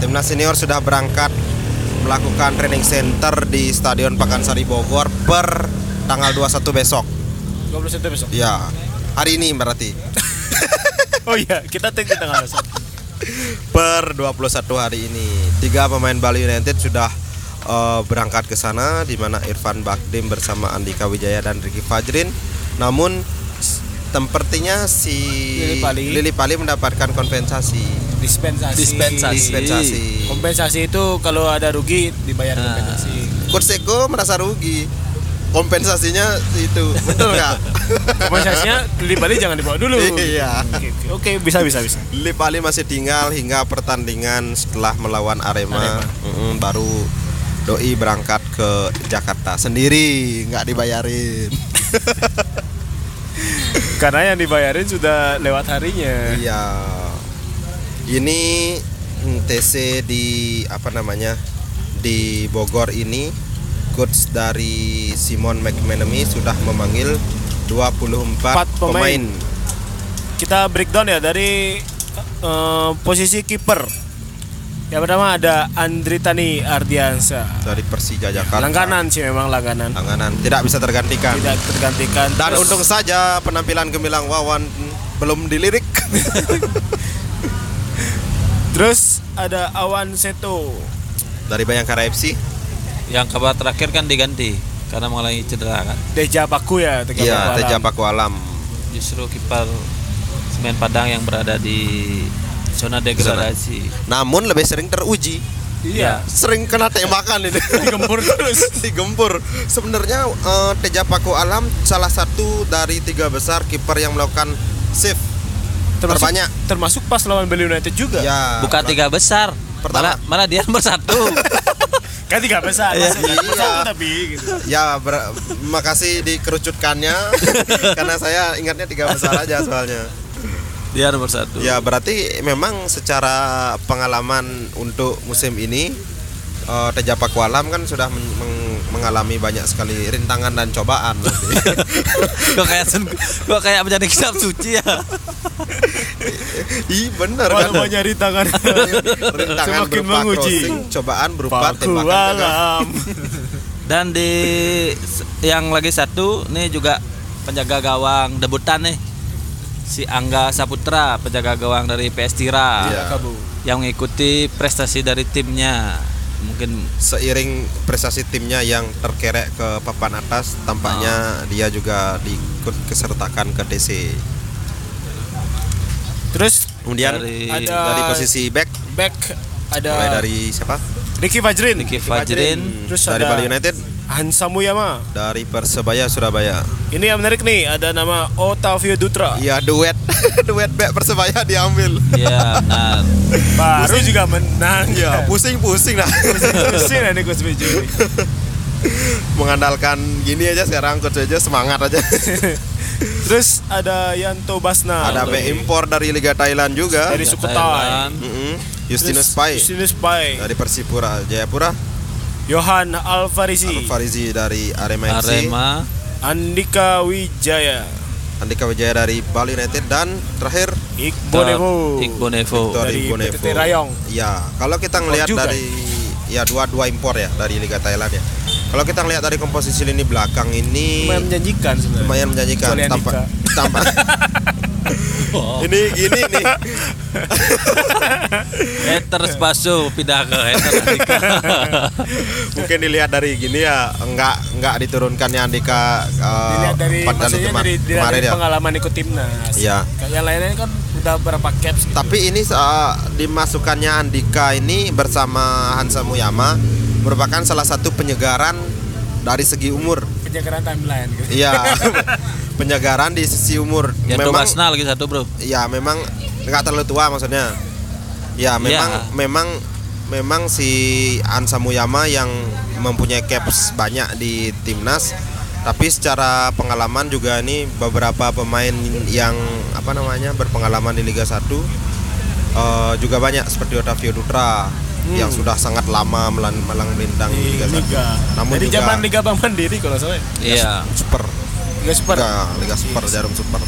[SPEAKER 2] timnas senior sudah berangkat melakukan training center di Stadion Pakansari Bogor per tanggal 21 besok.
[SPEAKER 1] 21 besok.
[SPEAKER 2] Ya, hari ini berarti
[SPEAKER 1] <laughs> Oh iya, kita take di tanggal besok.
[SPEAKER 2] per 21 hari ini. Tiga pemain Bali United sudah eh, berangkat ke sana di mana Irfan Bakdim bersama Andika Wijaya dan Ricky Fajrin. Namun sepertinya si
[SPEAKER 1] Lili Pali.
[SPEAKER 2] mendapatkan kompensasi.
[SPEAKER 1] Dispensasi.
[SPEAKER 3] Dispensasi.
[SPEAKER 2] Dispensasi.
[SPEAKER 1] Kompensasi itu kalau ada rugi dibayar
[SPEAKER 3] Nah.
[SPEAKER 1] kompensasi.
[SPEAKER 2] Coach Eko merasa rugi. Kompensasinya itu betul
[SPEAKER 1] <laughs>
[SPEAKER 2] nggak?
[SPEAKER 1] Kompensasinya di Bali jangan dibawa dulu.
[SPEAKER 2] <laughs> Iya.
[SPEAKER 1] Oke, oke, oke, bisa bisa bisa.
[SPEAKER 2] Lip Ali masih tinggal hingga pertandingan setelah melawan Arema, Mm-mm, baru Doi berangkat ke Jakarta sendiri, nggak
[SPEAKER 1] <laughs>
[SPEAKER 2] dibayarin.
[SPEAKER 1] Karena yang dibayarin sudah lewat harinya.
[SPEAKER 2] Iya. Ini mm, TC di apa namanya di Bogor ini coach dari Simon McManamy sudah memanggil 24
[SPEAKER 1] Empat
[SPEAKER 2] pemain.
[SPEAKER 1] pemain. Kita breakdown ya dari eh, posisi kiper. Yang pertama ada Andri Tani Ardiansa.
[SPEAKER 2] dari Persija Jakarta.
[SPEAKER 1] Langganan sih memang langganan.
[SPEAKER 2] Langganan. tidak bisa tergantikan.
[SPEAKER 1] Tidak tergantikan.
[SPEAKER 2] Dan
[SPEAKER 1] Terus
[SPEAKER 2] untung saja penampilan gemilang Wawan belum
[SPEAKER 1] <laughs>
[SPEAKER 2] dilirik.
[SPEAKER 1] Terus ada Awan Seto.
[SPEAKER 2] Dari Bayangkara FC.
[SPEAKER 3] Yang kabar terakhir kan diganti karena mengalami cedera kan.
[SPEAKER 1] Deja Paku ya, Tegal Paku
[SPEAKER 2] Iya,
[SPEAKER 1] Alam.
[SPEAKER 2] Teja Paku Alam.
[SPEAKER 3] Justru kiper Semen Padang yang berada di zona degradasi.
[SPEAKER 2] Namun lebih sering teruji.
[SPEAKER 1] Iya.
[SPEAKER 2] Sering kena tembakan ini.
[SPEAKER 1] <laughs> Digempur terus.
[SPEAKER 2] <laughs> Digempur. Sebenarnya eh, Teja Paku Alam salah satu dari tiga besar kiper yang melakukan save
[SPEAKER 1] Termasuk,
[SPEAKER 2] terbanyak.
[SPEAKER 1] termasuk pas lawan Bali United juga.
[SPEAKER 2] Ya.
[SPEAKER 3] Bukan tiga besar.
[SPEAKER 2] Pertama.
[SPEAKER 3] Malah, malah dia nomor satu.
[SPEAKER 1] Kan tiga besar. masih
[SPEAKER 2] Iya.
[SPEAKER 1] tiga besar tapi gitu.
[SPEAKER 2] Ya, ber- makasih dikerucutkannya
[SPEAKER 1] <laughs>
[SPEAKER 2] karena saya ingatnya tiga besar aja soalnya.
[SPEAKER 3] <laughs> dia nomor satu.
[SPEAKER 2] Ya berarti memang secara pengalaman untuk musim ini eh, Teja Pakualam kan sudah men- meng- mengalami banyak sekali rintangan dan cobaan.
[SPEAKER 1] <laughs>
[SPEAKER 3] Gua kayak sen- gua kayak menjadi kitab suci ya.
[SPEAKER 2] Ih bener kan?
[SPEAKER 1] Kalau mau nyari tangan.
[SPEAKER 2] Rintangan
[SPEAKER 1] Semakin
[SPEAKER 2] berupa
[SPEAKER 1] menguji.
[SPEAKER 2] crossing, cobaan berupa
[SPEAKER 1] Paku
[SPEAKER 2] tembakan gagal.
[SPEAKER 1] alam.
[SPEAKER 3] Dan di s- yang lagi satu nih juga penjaga gawang debutan nih. Si Angga Saputra, penjaga gawang dari PS Tira.
[SPEAKER 2] Iya.
[SPEAKER 1] Kabu.
[SPEAKER 3] yang mengikuti prestasi dari timnya mungkin
[SPEAKER 2] seiring prestasi timnya yang terkerek ke papan atas
[SPEAKER 1] Ah.
[SPEAKER 2] tampaknya dia juga diikut kesertakan ke DC
[SPEAKER 1] Terus
[SPEAKER 2] kemudian
[SPEAKER 3] Dari-
[SPEAKER 2] dari,
[SPEAKER 1] Ada-
[SPEAKER 2] posisi back
[SPEAKER 1] back ada
[SPEAKER 2] mulai dari siapa
[SPEAKER 1] Ricky Fajrin,
[SPEAKER 3] Ricky Fajrin
[SPEAKER 1] Terus
[SPEAKER 2] dari
[SPEAKER 1] ada-
[SPEAKER 2] Bali United
[SPEAKER 1] Hansa Muyama.
[SPEAKER 2] dari Persebaya Surabaya
[SPEAKER 1] Ini yang menarik nih, ada nama Otavio Dutra.
[SPEAKER 2] iya duet <laughs> duet back Persebaya
[SPEAKER 1] <laughs>
[SPEAKER 2] diambil
[SPEAKER 3] <laughs> ya benar
[SPEAKER 1] Baru juga menang.
[SPEAKER 2] ya pusing-pusing lah <laughs>
[SPEAKER 1] Pusing ini Coach Bejo.
[SPEAKER 2] mengandalkan gini aja sekarang coach aja semangat
[SPEAKER 1] <laughs>
[SPEAKER 2] aja
[SPEAKER 1] Terus ada Yanto Basna.
[SPEAKER 2] ada back impor dari Liga Thailand juga
[SPEAKER 1] Dari Sukutai.
[SPEAKER 3] Thailand.
[SPEAKER 2] Mm-mm.
[SPEAKER 1] Terus
[SPEAKER 2] Justinus Pai
[SPEAKER 1] Justinus Pai.
[SPEAKER 2] dari Persipura Jayapura
[SPEAKER 1] Johan Alvarisi.
[SPEAKER 2] Farizi dari Arema FC
[SPEAKER 3] Arema
[SPEAKER 1] Andika Wijaya.
[SPEAKER 2] Andika Wijaya dari Bali United dan terakhir
[SPEAKER 1] Iqbonevo.
[SPEAKER 3] Iqbal Nevo.
[SPEAKER 1] Dari
[SPEAKER 2] Tori Bonevo.
[SPEAKER 1] PTT Rayong.
[SPEAKER 2] Ya, kalau kita ngelihat
[SPEAKER 1] juga.
[SPEAKER 2] dari ya dua-dua impor ya dari Liga Thailand ya. Kalau kita ngelihat dari komposisi lini belakang ini
[SPEAKER 1] Lumayan menjanjikan sebenarnya.
[SPEAKER 2] lumayan menjanjikan
[SPEAKER 1] Kecuali
[SPEAKER 2] tampak
[SPEAKER 1] Andika. <laughs> Oh.
[SPEAKER 2] tampak ini gini nih
[SPEAKER 3] Haters Basu pindah ke
[SPEAKER 2] <laughs>
[SPEAKER 3] Haters Andika.
[SPEAKER 2] mungkin dilihat dari gini ya enggak enggak diturunkannya Andika eh,
[SPEAKER 1] Dilihat dari
[SPEAKER 2] empat kali
[SPEAKER 1] maksudnya
[SPEAKER 2] kemar-
[SPEAKER 1] dari, dilihat
[SPEAKER 2] kemarin
[SPEAKER 1] dari
[SPEAKER 2] ya.
[SPEAKER 1] pengalaman ikut timnas.
[SPEAKER 2] Iya.
[SPEAKER 1] Kayak Yang lainnya kan udah berapa caps gitu.
[SPEAKER 2] Tapi ini eh, dimasukkannya Andika ini bersama Hansa Muyama merupakan salah satu penyegaran dari segi umur.
[SPEAKER 1] penyegaran timeline gitu. <laughs>
[SPEAKER 2] Iya. penyegaran di sisi umur.
[SPEAKER 3] Yanto Basna Ya, lagi satu bro.
[SPEAKER 2] ya memang nggak terlalu tua maksudnya ya memang
[SPEAKER 3] Ya.
[SPEAKER 2] memang memang si Ansa Muyama yang mempunyai caps banyak di timnas tapi secara pengalaman juga ini beberapa pemain yang apa namanya berpengalaman di Liga 1 eh, juga banyak seperti Otavio Dutra yang sudah sangat lama melan- melang melintang di Liga 1
[SPEAKER 1] Hmm. Liga.
[SPEAKER 2] Namun
[SPEAKER 1] Dari
[SPEAKER 2] juga-
[SPEAKER 1] zaman Liga Bank Mandiri kalau nggak salah. ya.
[SPEAKER 3] Iya.
[SPEAKER 2] Super
[SPEAKER 1] Liga Super. Iya.
[SPEAKER 2] Liga, Liga Super Jarum Super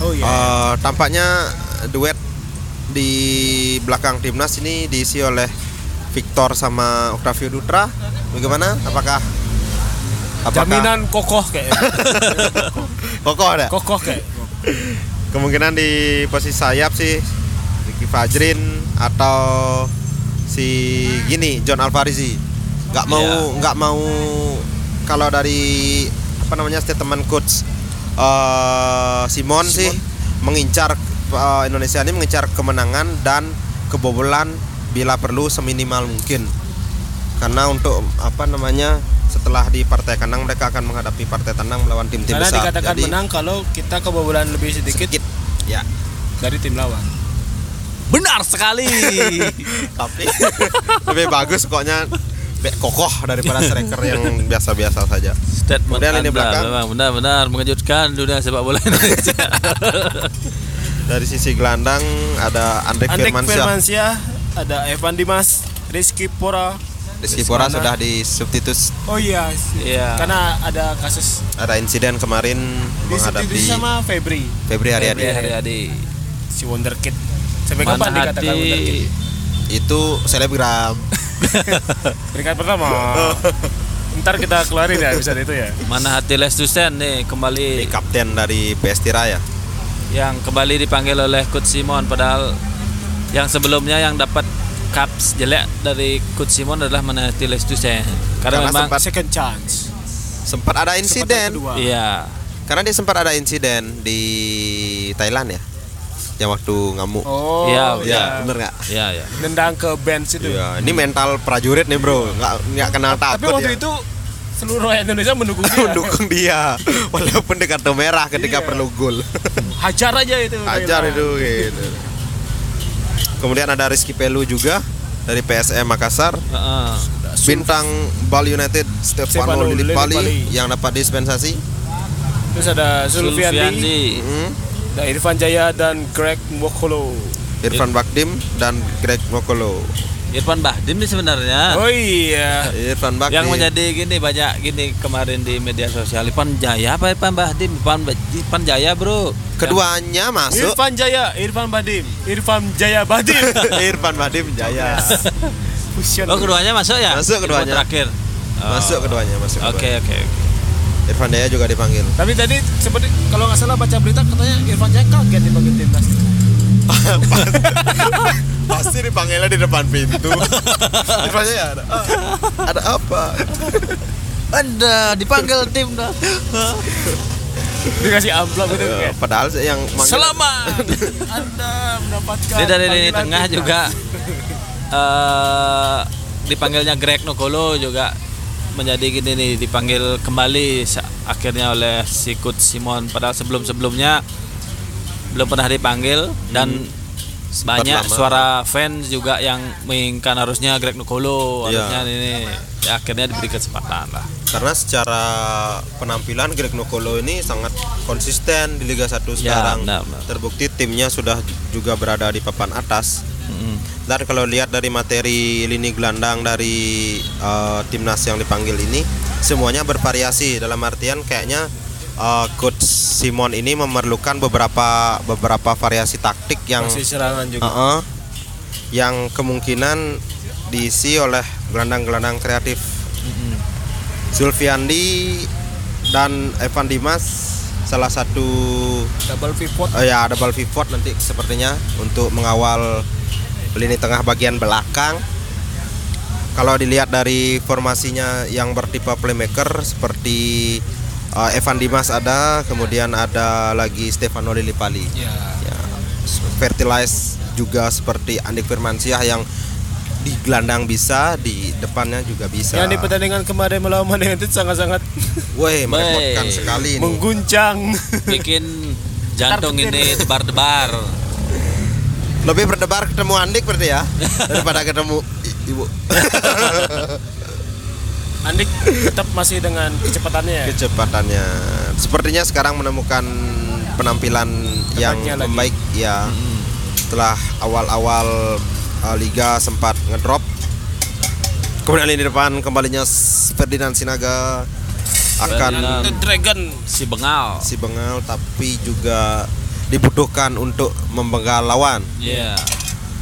[SPEAKER 1] Oh iya.
[SPEAKER 2] Eh, tampaknya duet di belakang timnas ini diisi oleh Victor sama Octavio Dutra. Bagaimana? Apakah apakah
[SPEAKER 1] Jaminan kokoh
[SPEAKER 2] <laughs>
[SPEAKER 1] kayak.
[SPEAKER 2] kokoh ada?
[SPEAKER 1] kokoh kayak.
[SPEAKER 2] Kemungkinan di posisi sayap sih Ricky Fajrin atau si gini John Alvarez Gak mau
[SPEAKER 1] Iya.
[SPEAKER 2] nggak mau kalau dari apa namanya statement coach eh, Simon, sih mengincar eh, Indonesia ini mengincar kemenangan dan kebobolan bila perlu seminimal mungkin. Karena untuk apa namanya setelah di partai kandang mereka akan menghadapi partai tandang melawan tim-tim
[SPEAKER 1] Karena
[SPEAKER 2] besar.
[SPEAKER 1] dikatakan
[SPEAKER 2] Jadi,
[SPEAKER 1] menang kalau kita kebobolan lebih sedikit
[SPEAKER 2] sedikit. Ya.
[SPEAKER 1] dari tim lawan.
[SPEAKER 3] Benar
[SPEAKER 2] <laughs>
[SPEAKER 3] sekali.
[SPEAKER 2] tapi <laughs> lebih bagus koknya bek kokoh daripada striker yang biasa-biasa saja.
[SPEAKER 3] Statement
[SPEAKER 2] Kemudian lini
[SPEAKER 3] Anda
[SPEAKER 2] belakang.
[SPEAKER 3] memang benar-benar mengejutkan dunia sepak bola Indonesia.
[SPEAKER 2] <laughs> Dari sisi gelandang ada Andre
[SPEAKER 1] Andek
[SPEAKER 2] Firmansyah.
[SPEAKER 1] Firmansyah, ada Evan Dimas, Rizky Pora.
[SPEAKER 2] Rizky Pora
[SPEAKER 1] Rizky
[SPEAKER 2] sudah disubstitus.
[SPEAKER 1] Oh iya.
[SPEAKER 3] Iya.
[SPEAKER 2] Kan-
[SPEAKER 1] Karena ada kasus
[SPEAKER 2] Ada insiden kemarin menghadapi
[SPEAKER 1] disubstitusi sama Febri
[SPEAKER 2] Febri Haryadi.
[SPEAKER 3] Febri Haryadi.
[SPEAKER 1] si Wonderkid. Sampai
[SPEAKER 3] iya, Mana
[SPEAKER 1] kapan dikatakan Wonderkid?
[SPEAKER 3] hati
[SPEAKER 2] Itu selebgram.
[SPEAKER 1] Peringkat
[SPEAKER 2] <laughs>
[SPEAKER 1] pertama. Ntar kita keluarin ya bisa itu ya.
[SPEAKER 3] mana hati Les Dusen nih
[SPEAKER 2] Ini
[SPEAKER 3] kembali
[SPEAKER 2] kapten dari PS Tiraya.
[SPEAKER 3] yang kembali dipanggil oleh coach Simon padahal yang sebelumnya yang dapat caps jelek dari coach Simon adalah mana hati Les Dusen. Karena,
[SPEAKER 2] Karena
[SPEAKER 3] memang
[SPEAKER 2] sempat-
[SPEAKER 1] Second chance.
[SPEAKER 2] Sempat ada
[SPEAKER 1] Kesempatan
[SPEAKER 2] insiden.
[SPEAKER 1] kedua.
[SPEAKER 3] iya.
[SPEAKER 2] Karena dia sempat ada insiden di Thailand ya. Yang waktu ngamuk.
[SPEAKER 1] Oh.
[SPEAKER 3] Iya, iya.
[SPEAKER 2] ya, bener nggak?
[SPEAKER 3] Iya, iya.
[SPEAKER 1] Nendang ke bench itu.
[SPEAKER 2] Iya, ini mental prajurit nih bro, nggak nggak kenal takut.
[SPEAKER 1] Tapi waktu
[SPEAKER 2] ya.
[SPEAKER 1] itu seluruh rakyat Indonesia mendukung dia.
[SPEAKER 2] <laughs> mendukung dia walaupun di kartu merah ketika
[SPEAKER 1] Iya.
[SPEAKER 2] perlu gol
[SPEAKER 1] <laughs> Hajar aja itu.
[SPEAKER 2] ajar
[SPEAKER 1] Thailand.
[SPEAKER 2] itu gitu kemudian ada Rizky Pelu juga dari PSM Makassar
[SPEAKER 3] Heeh.
[SPEAKER 2] bintang Bali United
[SPEAKER 1] Stefano
[SPEAKER 2] Stefano Lillipali,
[SPEAKER 1] Lillipali
[SPEAKER 2] yang dapat dispensasi
[SPEAKER 1] Terus ada Zulfiandi,
[SPEAKER 3] Zulfiandi.
[SPEAKER 2] Mm.
[SPEAKER 1] ada Irfan Jaya dan Greg Mokolo.
[SPEAKER 2] Irfan Bakdim dan Greg Mokolo
[SPEAKER 3] Irfan Bahdim nih sebenarnya.
[SPEAKER 1] Oh iya.
[SPEAKER 2] Irfan Bakdim
[SPEAKER 3] yang menjadi gini banyak gini kemarin di media sosial Irfan Jaya apa Irfan Bahdim Irfan, Irfan Jaya bro
[SPEAKER 2] keduanya masuk
[SPEAKER 1] Irfan Jaya, Irfan Badim, Irfan Jaya Badim.
[SPEAKER 2] <laughs> Irfan Bakdim jaya
[SPEAKER 1] Fusion.
[SPEAKER 3] oh keduanya masuk ya
[SPEAKER 2] Masuk keduanya.
[SPEAKER 3] Irfan terakhir Oh.
[SPEAKER 2] masuk keduanya masuk
[SPEAKER 3] oke
[SPEAKER 2] keduanya.
[SPEAKER 3] oke oke.
[SPEAKER 2] Irfan Jaya juga dipanggil
[SPEAKER 1] Tapi tadi seperti kalau nggak salah baca berita katanya Irfan Jaya kaget dipanggil timnas.
[SPEAKER 2] pasti dipanggilnya di depan pintu depannya ya ada "Ah, ada apa
[SPEAKER 3] Ada dipanggil timnas.
[SPEAKER 1] dikasih amplop gitu
[SPEAKER 2] Eh,
[SPEAKER 1] kayak,
[SPEAKER 2] padahal sih yang manggil-
[SPEAKER 3] Selamat.
[SPEAKER 1] anda mendapatkan
[SPEAKER 3] Dia dari lini
[SPEAKER 1] panggilan
[SPEAKER 3] tengah
[SPEAKER 1] timnas."
[SPEAKER 2] <laughs>
[SPEAKER 3] juga eh dipanggilnya Greg Nogolo juga menjadi gini nih dipanggil kembali sa- akhirnya oleh Sikut Simon padahal sebelum-sebelumnya belum pernah dipanggil dan
[SPEAKER 2] Hmm.
[SPEAKER 3] banyak
[SPEAKER 2] lama.
[SPEAKER 3] suara fans juga yang menginginkan harusnya Greg Nogolo
[SPEAKER 2] Iya.
[SPEAKER 3] harusnya ini Ya, akhirnya diberi kesempatan
[SPEAKER 2] <laughs>
[SPEAKER 3] lah
[SPEAKER 2] karena secara penampilan Greg Nokolo ini sangat konsisten di Liga 1 sekarang
[SPEAKER 3] benar, benar.
[SPEAKER 2] terbukti timnya sudah juga berada di papan atas
[SPEAKER 3] Mm-mm.
[SPEAKER 2] Dan kalau lihat dari materi lini gelandang dari eh, timnas yang dipanggil ini, semuanya bervariasi. Dalam artian kayaknya eh, coach Simon ini memerlukan beberapa beberapa variasi taktik yang
[SPEAKER 1] masih serangan juga
[SPEAKER 2] Heeh. yang kemungkinan diisi oleh gelandang-gelandang kreatif. Zulfiandi dan Evan Dimas salah satu
[SPEAKER 1] double pivot
[SPEAKER 2] Oh ya, double pivot nanti sepertinya untuk mengawal lini tengah bagian belakang. Kalau dilihat dari formasinya yang bertipe playmaker seperti eh, Evan Dimas ada, kemudian ada lagi Stefano Lillipali.
[SPEAKER 1] ya
[SPEAKER 2] Ya, Fertilize juga seperti Andik Firmansyah yang di gelandang bisa, di depannya juga bisa.
[SPEAKER 1] yang di pertandingan kemarin melawan Man United sangat-sangat
[SPEAKER 2] Woi, merepotkan
[SPEAKER 3] Woi.
[SPEAKER 2] sekali ini.
[SPEAKER 1] mengguncang
[SPEAKER 3] bikin jantung ini debar-debar
[SPEAKER 2] Lebih berdebar ketemu Andik berarti
[SPEAKER 1] <laughs>
[SPEAKER 2] ya daripada ketemu i- ibu.
[SPEAKER 1] Andik tetap masih dengan kecepatannya ya
[SPEAKER 2] <laughs> kecepatannya sepertinya sekarang menemukan penampilan yang
[SPEAKER 1] Tepatnya lagi.
[SPEAKER 2] membaik ya setelah awal-awal uh, liga sempat ngedrop kemudian lini depan kembalinya S- Ferdinand Sinaga akan
[SPEAKER 3] Ferdinand.
[SPEAKER 1] Dragon
[SPEAKER 3] si bengal
[SPEAKER 2] si bengal tapi juga dibutuhkan untuk membengal lawan
[SPEAKER 3] ya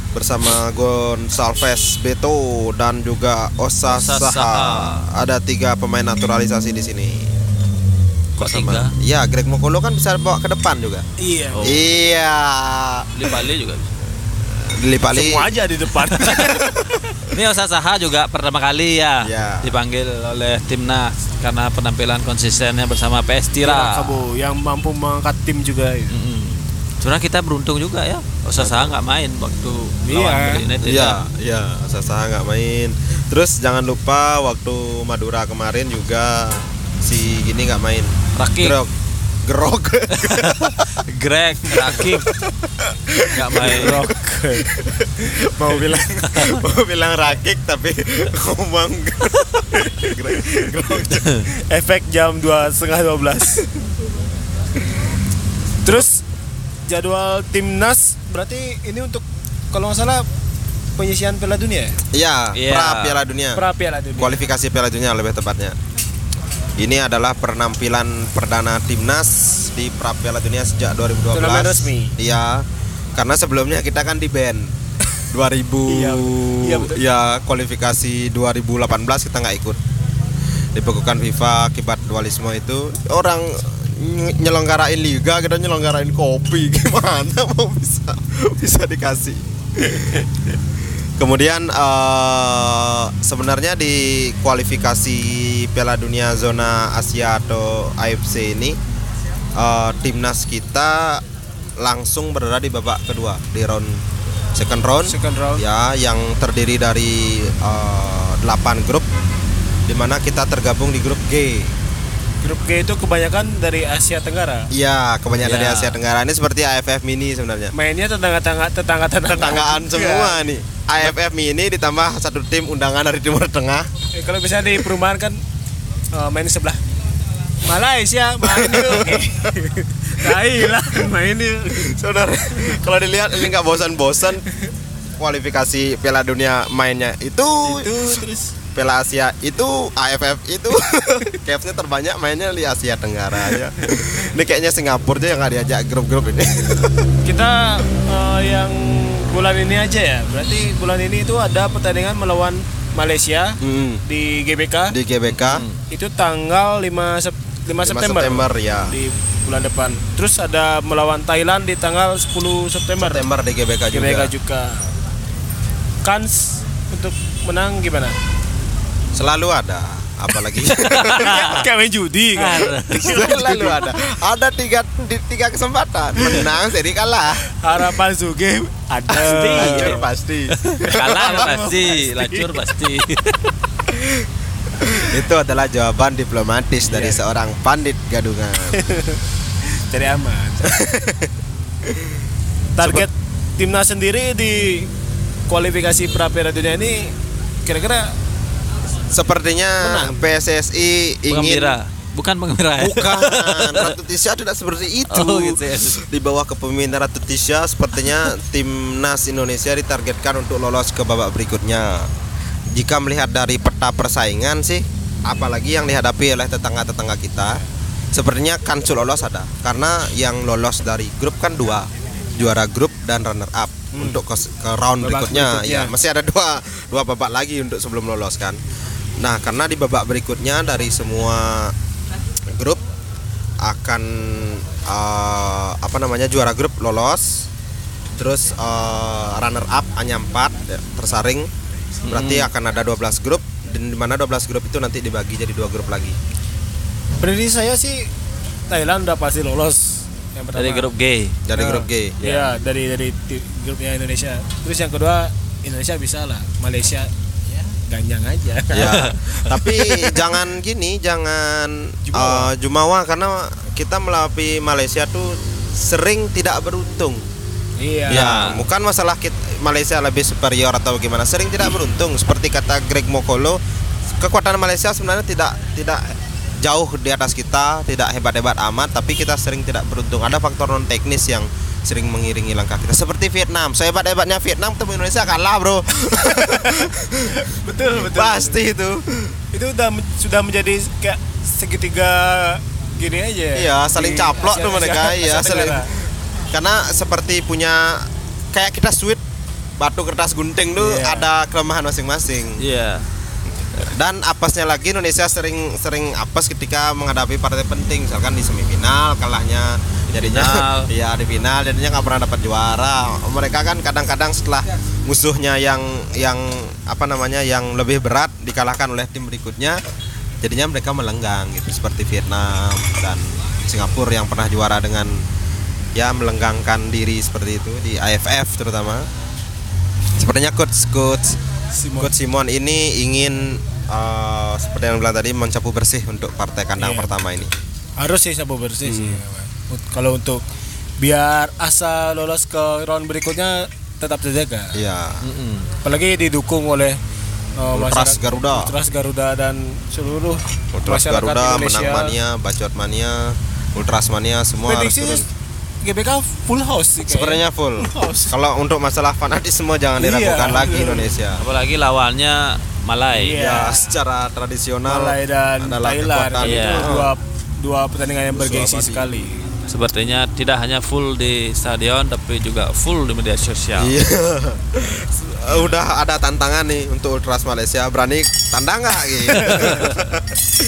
[SPEAKER 2] bersama Gonsalves Beto dan juga Osa
[SPEAKER 3] Osa
[SPEAKER 2] Saha.
[SPEAKER 3] Saha.
[SPEAKER 2] ada tiga pemain naturalisasi di sini
[SPEAKER 3] kok
[SPEAKER 2] Sama-
[SPEAKER 3] tiga
[SPEAKER 2] Iya, Greg Mokolo kan bisa bawa ke depan juga.
[SPEAKER 1] iya
[SPEAKER 3] Oh.
[SPEAKER 2] Iya.
[SPEAKER 3] di Bali juga
[SPEAKER 2] Lili Pali.
[SPEAKER 1] semua aja di depan
[SPEAKER 3] Ini Osasaha juga pertama kali ya
[SPEAKER 1] Iya.
[SPEAKER 2] Ya.
[SPEAKER 3] dipanggil oleh timnas karena penampilan konsistennya bersama PS
[SPEAKER 1] Iya,
[SPEAKER 3] Tira.
[SPEAKER 1] Kamu yang mampu mengangkat tim juga ya.
[SPEAKER 3] Mm-mm. Sebenarnya kita beruntung juga ya. Osasaha nggak main waktu lawan
[SPEAKER 1] Iya.
[SPEAKER 3] Bali United.
[SPEAKER 2] Iya, iya, Sasa nggak main. Terus jangan lupa waktu Madura kemarin juga si gini nggak main.
[SPEAKER 3] Rakik.
[SPEAKER 2] Gerok. Gerok.
[SPEAKER 3] Greg, Rakik nggak main.
[SPEAKER 2] mau bilang <laughs> mau bilang Rakik tapi <laughs> ngomong Gerok. Gerok.
[SPEAKER 1] efek jam dua setengah dua belas terus jadwal timnas berarti ini untuk kalau nggak salah penyisian Piala Dunia ya?
[SPEAKER 2] Iya,
[SPEAKER 3] Iya.
[SPEAKER 2] pra Piala Dunia.
[SPEAKER 1] pra Piala Dunia
[SPEAKER 2] kualifikasi Piala Dunia lebih tepatnya. Ini adalah penampilan perdana timnas di pra Piala Dunia sejak 2012.
[SPEAKER 1] Turnamen resmi.
[SPEAKER 2] Iya. Karena sebelumnya kita kan di band
[SPEAKER 1] <laughs>
[SPEAKER 2] 2000
[SPEAKER 1] Iya, iya betul.
[SPEAKER 2] ya kualifikasi 2018 kita nggak ikut. Dibekukan FIFA akibat dualisme itu. Orang ny- nyelenggarain liga kita nyelenggarain kopi <laughs> gimana mau bisa bisa dikasih Kemudian eh, sebenarnya di kualifikasi Piala Dunia zona Asia atau AFC ini eh, timnas kita langsung berada di babak kedua di round second round.
[SPEAKER 1] Second round.
[SPEAKER 2] Ya, yang terdiri dari eh, 8 grup di mana kita tergabung di grup G.
[SPEAKER 1] grup G itu kebanyakan dari Asia Tenggara
[SPEAKER 2] Iya, kebanyakan dari
[SPEAKER 3] Ya.
[SPEAKER 2] Asia Tenggara ini seperti AFF mini sebenarnya.
[SPEAKER 1] mainnya tetangga-tetangga tetangga-tetangga
[SPEAKER 2] Tetanggaan
[SPEAKER 1] iya.
[SPEAKER 2] semua nih. AFF mini ditambah satu tim undangan dari Timur Tengah.
[SPEAKER 1] Eh, kalau bisa di perumahan kan eh, main di sebelah Malaysia main
[SPEAKER 2] <laughs>
[SPEAKER 1] yuk Thailand main yuk
[SPEAKER 2] Saudara, kalau dilihat ini nggak bosan-bosan kualifikasi Piala Dunia mainnya itu,
[SPEAKER 1] itu terus
[SPEAKER 2] Piala Asia itu, AFF itu, <laughs> KF-nya terbanyak mainnya di Asia Tenggara ya. Ini kayaknya Singapura aja yang nggak diajak grup-grup
[SPEAKER 1] <laughs>
[SPEAKER 2] ini.
[SPEAKER 1] kita eh, yang bulan ini aja ya berarti bulan ini itu ada pertandingan melawan Malaysia
[SPEAKER 2] Hmm,
[SPEAKER 1] di GBK
[SPEAKER 2] Di GBK
[SPEAKER 1] itu tanggal 5 Sep- 5 5
[SPEAKER 2] 5
[SPEAKER 1] Hmm. September,
[SPEAKER 2] September ya.
[SPEAKER 1] di bulan depan. Terus ada melawan Thailand di tanggal 10 September.
[SPEAKER 2] September di GBK juga.
[SPEAKER 1] GBK juga. Kans untuk menang gimana?
[SPEAKER 2] Selalu ada, apalagi
[SPEAKER 1] <laughs>
[SPEAKER 2] <laughs>
[SPEAKER 1] Ya, Kayak main judi kan.
[SPEAKER 2] selalu ada. Ada tiga di tiga kesempatan menang seri kalah.
[SPEAKER 1] Harapan Suge ada.
[SPEAKER 2] Hancur pasti.
[SPEAKER 1] <laughs>
[SPEAKER 3] kalah
[SPEAKER 1] Iya.
[SPEAKER 3] pasti lacur pasti
[SPEAKER 2] Itu adalah jawaban diplomatis dari
[SPEAKER 1] Iya.
[SPEAKER 2] seorang pandit gadungan.
[SPEAKER 1] Jadi aman. Target timnas sendiri di kualifikasi pra Piala Dunia ini kira-kira
[SPEAKER 2] Sepertinya
[SPEAKER 1] Menang.
[SPEAKER 2] PSSI ingin
[SPEAKER 3] penggembira bukan penggembira ya? <laughs>
[SPEAKER 2] Bukan, Ratu Tisha tidak seperti itu.
[SPEAKER 3] Oh, gitu ya.
[SPEAKER 2] Di bawah kepemimpinan Ratu Tisha, sepertinya timnas Indonesia ditargetkan untuk lolos ke babak berikutnya. Jika melihat dari peta persaingan sih, apalagi yang dihadapi oleh tetangga-tetangga kita, sepertinya kansul lolos ada. Karena yang lolos dari grup kan dua, juara grup dan runner up
[SPEAKER 3] Hmm.
[SPEAKER 2] untuk ke, ke round
[SPEAKER 1] Babak
[SPEAKER 2] berikutnya.
[SPEAKER 1] berikutnya.
[SPEAKER 2] Ya, masih ada dua dua babak lagi untuk sebelum lolos kan. Nah, karena di babak berikutnya dari semua grup akan eh, apa namanya juara grup lolos terus eh, runner up hanya 4 tersaring berarti
[SPEAKER 1] Hmm.
[SPEAKER 2] akan ada 12 grup dan di mana 12 grup itu nanti dibagi jadi dua grup lagi
[SPEAKER 1] prediksi saya sih Thailand udah pasti lolos yang pertama.
[SPEAKER 3] dari grup G
[SPEAKER 2] dari
[SPEAKER 1] Nah,
[SPEAKER 2] grup G Ya.
[SPEAKER 1] Iya, dari dari ti- grupnya Indonesia. Terus yang kedua Indonesia bisa lah, Malaysia ya ganyang aja.
[SPEAKER 2] ya <laughs> tapi jangan gini jangan eh,
[SPEAKER 1] Jumawa.
[SPEAKER 2] jumawa. karena kita melapisi Malaysia tuh sering tidak beruntung
[SPEAKER 1] <laughs> iya.
[SPEAKER 2] Ya, bukan masalah kita, Malaysia lebih superior atau gimana. Sering tidak beruntung seperti kata Greg Mokolo, kekuatan Malaysia sebenarnya tidak tidak jauh di atas kita, tidak hebat-hebat amat, tapi kita sering tidak beruntung. Ada faktor non teknis yang sering mengiringi langkah kita. Seperti Vietnam, sehebat-hebatnya Vietnam ketemu Indonesia kalah, Bro.
[SPEAKER 1] Betul, betul.
[SPEAKER 2] Pasti itu.
[SPEAKER 1] Itu udah men- sudah menjadi kayak segitiga gini aja. ya,
[SPEAKER 2] Iya, saling
[SPEAKER 1] di
[SPEAKER 2] caplok
[SPEAKER 1] Asia-
[SPEAKER 2] tuh mereka.
[SPEAKER 1] Asia-
[SPEAKER 2] Iya,
[SPEAKER 1] Asia
[SPEAKER 2] saling.
[SPEAKER 1] Tenggara.
[SPEAKER 2] Karena seperti punya kayak kita sweet batu kertas gunting tuh
[SPEAKER 1] Iya.
[SPEAKER 2] ada kelemahan masing-masing.
[SPEAKER 3] iya
[SPEAKER 2] dan apesnya lagi Indonesia sering sering apes ketika menghadapi partai penting misalkan di semifinal kalahnya jadinya
[SPEAKER 3] Final.
[SPEAKER 2] iya di final jadinya nggak pernah dapat juara mereka kan kadang-kadang setelah musuhnya yang yang apa namanya yang lebih berat dikalahkan oleh tim berikutnya jadinya mereka melenggang gitu seperti Vietnam dan Singapura yang pernah juara dengan ya melenggangkan diri seperti itu di AFF terutama sepertinya coach coach
[SPEAKER 1] Simon.
[SPEAKER 2] Coach Simon ini ingin eh, seperti yang bilang tadi mencapu bersih untuk partai kandang
[SPEAKER 1] Iya.
[SPEAKER 2] pertama ini.
[SPEAKER 1] Harus sih sabu bersih sih.
[SPEAKER 2] Hmm.
[SPEAKER 1] Ut- Kalau untuk biar asa lolos ke round berikutnya tetap terjaga.
[SPEAKER 2] Iya.
[SPEAKER 1] apalagi didukung oleh uh, masyarakat-
[SPEAKER 2] Ultras Garuda.
[SPEAKER 1] Ultras Garuda dan seluruh
[SPEAKER 2] Ultras
[SPEAKER 1] masyarakat
[SPEAKER 2] Garuda,
[SPEAKER 1] Indonesia.
[SPEAKER 2] Menang Mania, Bacot Mania, Ultras Mania semua harus
[SPEAKER 1] Prediksi
[SPEAKER 2] turun.
[SPEAKER 1] GBK full house sih kayaknya.
[SPEAKER 2] Sebenarnya
[SPEAKER 1] <laughs>
[SPEAKER 2] full.
[SPEAKER 1] House.
[SPEAKER 2] Kalau untuk masalah fanatisme jangan
[SPEAKER 1] Iya,
[SPEAKER 2] diragukan lagi
[SPEAKER 1] betul.
[SPEAKER 2] Indonesia.
[SPEAKER 3] apalagi lawannya Malai
[SPEAKER 1] Iya.
[SPEAKER 2] Ya, secara tradisional
[SPEAKER 1] Malai dan
[SPEAKER 2] adalah
[SPEAKER 1] Thailand
[SPEAKER 2] kekuatan.
[SPEAKER 1] itu
[SPEAKER 3] Iya.
[SPEAKER 1] dua dua pertandingan yang bergengsi
[SPEAKER 2] apalagi.
[SPEAKER 1] sekali.
[SPEAKER 3] sepertinya tidak hanya full di stadion tapi juga full di media sosial
[SPEAKER 2] Iya. <laughs> Udah ada tantangan nih untuk Ultras Malaysia. Berani tandang nggak
[SPEAKER 1] <laughs>
[SPEAKER 2] gitu.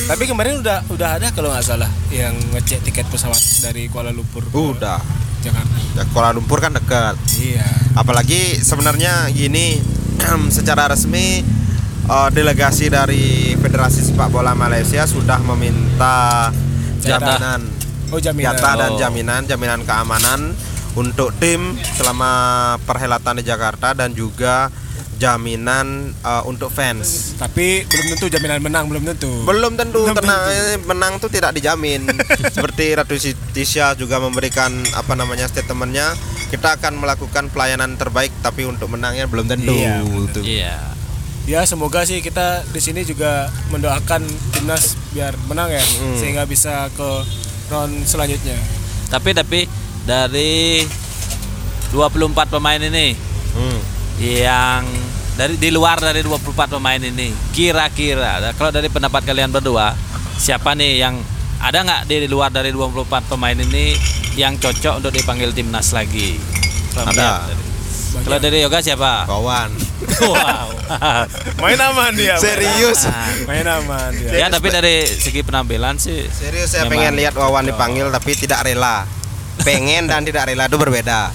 [SPEAKER 1] Tapi kemarin udah udah ada kalau nggak salah yang ngecek tiket pesawat dari Kuala Lumpur ke
[SPEAKER 2] Udah.
[SPEAKER 1] Jakarta.
[SPEAKER 2] Ya, Kuala Lumpur kan dekat.
[SPEAKER 1] Iya.
[SPEAKER 2] apalagi sebenarnya gini <clears throat> secara resmi eh, delegasi dari Federasi Sepak Bola Malaysia sudah meminta
[SPEAKER 1] Jatah.
[SPEAKER 2] jaminan
[SPEAKER 1] Oh jaminan.
[SPEAKER 2] jatah dan
[SPEAKER 3] Oh.
[SPEAKER 2] jaminan jaminan keamanan untuk tim selama perhelatan di Jakarta dan juga jaminan eh, untuk fans
[SPEAKER 1] Tapi belum tentu jaminan menang belum tentu.
[SPEAKER 2] belum tentu
[SPEAKER 1] Belum
[SPEAKER 2] tenang menang tuh tidak dijamin seperti Ratu Tisha juga memberikan apa namanya statementnya kita akan melakukan pelayanan terbaik tapi untuk menangnya belum tentu
[SPEAKER 1] Iya, belum
[SPEAKER 2] Gitu.
[SPEAKER 3] iya
[SPEAKER 1] ya semoga sih kita di sini juga mendoakan timnas biar menang ya sehingga bisa ke round selanjutnya
[SPEAKER 3] tapi tapi dari 24 pemain ini
[SPEAKER 2] Hmm.
[SPEAKER 3] yang dari di luar dari 24 pemain ini kira-kira nah, kalau dari pendapat kalian berdua siapa nih yang ada nggak di luar dari 24 pemain ini yang cocok untuk dipanggil timnas lagi?
[SPEAKER 2] Ada.
[SPEAKER 3] Kalau dari yoga siapa?
[SPEAKER 2] Kawan.
[SPEAKER 3] wow.
[SPEAKER 1] Main aman dia. main
[SPEAKER 2] Serius.
[SPEAKER 3] Nah,
[SPEAKER 1] aman. Main aman dia.
[SPEAKER 3] ya tapi dari segi penampilan sih
[SPEAKER 2] Serius saya
[SPEAKER 3] Memang.
[SPEAKER 2] pengen lihat Wawan dipanggil tapi tidak rela. Pengen dan tidak rela itu berbeda.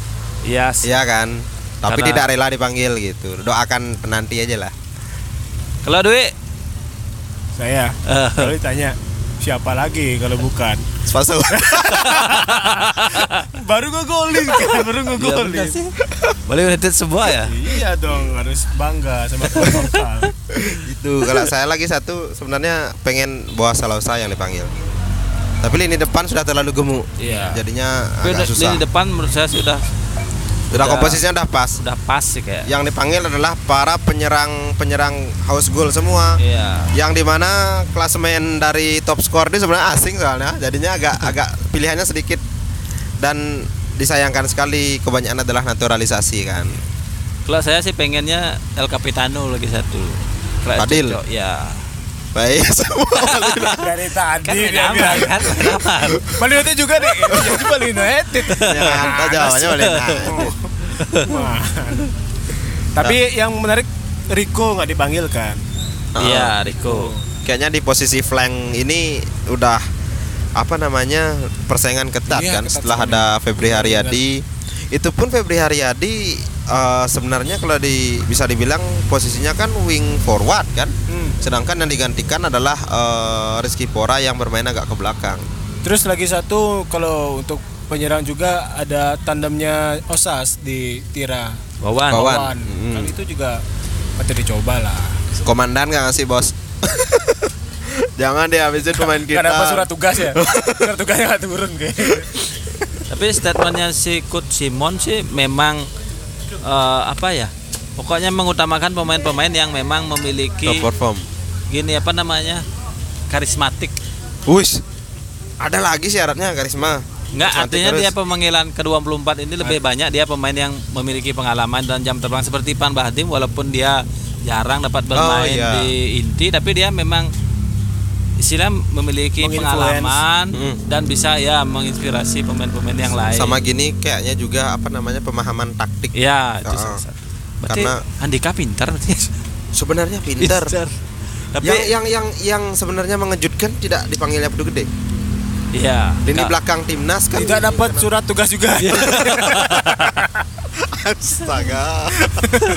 [SPEAKER 3] ya s-
[SPEAKER 2] Iya kan? Tapi
[SPEAKER 3] Karena-
[SPEAKER 2] tidak rela dipanggil gitu. Doakan penanti aja lah.
[SPEAKER 3] Kalau duit
[SPEAKER 1] Saya. Kalau ditanya siapa lagi kalau bukan
[SPEAKER 2] Spaso. <laughs>
[SPEAKER 1] baru gue goling kan baru gue goling
[SPEAKER 3] Bali United sebuah ya?
[SPEAKER 1] iya dong harus bangga sama klub lokal
[SPEAKER 2] Itu Gitu.
[SPEAKER 3] <laughs>
[SPEAKER 2] kalau saya lagi satu sebenarnya pengen bawa Salausa yang dipanggil. Tapi lini depan sudah terlalu gemuk.
[SPEAKER 3] Iya.
[SPEAKER 2] Jadinya
[SPEAKER 3] Tapi
[SPEAKER 2] agak
[SPEAKER 3] udah-
[SPEAKER 2] susah.
[SPEAKER 3] lini iya. depan menurut saya sih udah
[SPEAKER 2] Sudah
[SPEAKER 3] udah-
[SPEAKER 2] komposisinya udah pas.
[SPEAKER 3] udah pas sih kayak.
[SPEAKER 2] Yang dipanggil adalah para penyerang-penyerang house goal semua.
[SPEAKER 3] Iya.
[SPEAKER 2] yang dimana klasemen dari top skor ini sebenarnya asing soalnya jadinya agak agak pilihannya sedikit dan disayangkan sekali kebanyakan adalah naturalisasi kan
[SPEAKER 3] Kalau saya sih pengennya El Capitano lagi satu. Kalau
[SPEAKER 2] Fadil.
[SPEAKER 3] cocok, Ya.
[SPEAKER 2] baik <laughs>
[SPEAKER 3] <laughs>
[SPEAKER 2] semua
[SPEAKER 1] dari
[SPEAKER 3] Kan
[SPEAKER 1] tadi dia
[SPEAKER 3] main aman
[SPEAKER 1] bilang
[SPEAKER 3] kan main
[SPEAKER 2] <laughs>
[SPEAKER 3] aman.
[SPEAKER 1] Bali United juga deh jadi Bali United
[SPEAKER 2] Jangan, jawabannya boleh nah.
[SPEAKER 1] Wah. tapi yang menarik Rico nggak dipanggil kan
[SPEAKER 2] Oh.
[SPEAKER 3] Iya Rico.
[SPEAKER 2] kayaknya di posisi flank ini udah apa namanya persaingan ketat
[SPEAKER 1] Iya,
[SPEAKER 2] kan
[SPEAKER 1] ketat
[SPEAKER 2] setelah
[SPEAKER 1] sekali.
[SPEAKER 2] ada Febri Haryadi itu pun Febri Haryadi eh, sebenarnya kalau di bisa dibilang posisinya kan wing forward kan
[SPEAKER 1] Hmm.
[SPEAKER 2] sedangkan yang digantikan adalah eh, Rizky Pora yang bermain agak ke belakang
[SPEAKER 1] terus lagi satu kalau untuk penyerang juga ada tandemnya Osas di Tira
[SPEAKER 3] Wawan.
[SPEAKER 2] Wawan. Mm.
[SPEAKER 1] kan itu juga patut dicoba lah
[SPEAKER 2] komandan nggak ngasih bos <laughs> jangan dihabisin pemain kita
[SPEAKER 1] Kenapa surat tugas ya? surat tugasnya nggak turun kayaknya.
[SPEAKER 3] Tapi statementnya si Coach Simon sih memang eh, apa ya? Pokoknya mengutamakan pemain-pemain yang memang memiliki
[SPEAKER 2] top perform
[SPEAKER 3] gini apa namanya? karismatik.
[SPEAKER 2] Wush, ada lagi syaratnya karisma
[SPEAKER 3] Enggak,
[SPEAKER 2] Karismatik
[SPEAKER 3] artinya
[SPEAKER 2] terus. Ah.
[SPEAKER 3] dia pemanggilan ke-24 ini lebih banyak dia pemain yang memiliki pengalaman dan jam terbang seperti Pan Bahdim walaupun dia jarang dapat bermain
[SPEAKER 2] iya.
[SPEAKER 3] di inti tapi dia memang istilah memiliki
[SPEAKER 1] Menginfluence.
[SPEAKER 3] pengalaman
[SPEAKER 2] Mm.
[SPEAKER 3] dan bisa ya menginspirasi pemain-pemain yang lain.
[SPEAKER 2] sama gini kayaknya juga apa namanya pemahaman taktik
[SPEAKER 1] Iya.
[SPEAKER 3] ya, itu
[SPEAKER 2] Ah,
[SPEAKER 3] salah satu. Berarti
[SPEAKER 2] karena-
[SPEAKER 3] Andika pintar berarti. ya? <laughs>
[SPEAKER 2] sebenarnya pinter
[SPEAKER 3] Tapi
[SPEAKER 2] yang yang yang yang sebenarnya mengejutkan tidak dipanggilnya Abdu Gede
[SPEAKER 3] ya.
[SPEAKER 2] lini
[SPEAKER 3] enggak.
[SPEAKER 2] belakang timnas kan
[SPEAKER 1] Tidak dapat surat tugas juga.
[SPEAKER 2] astaga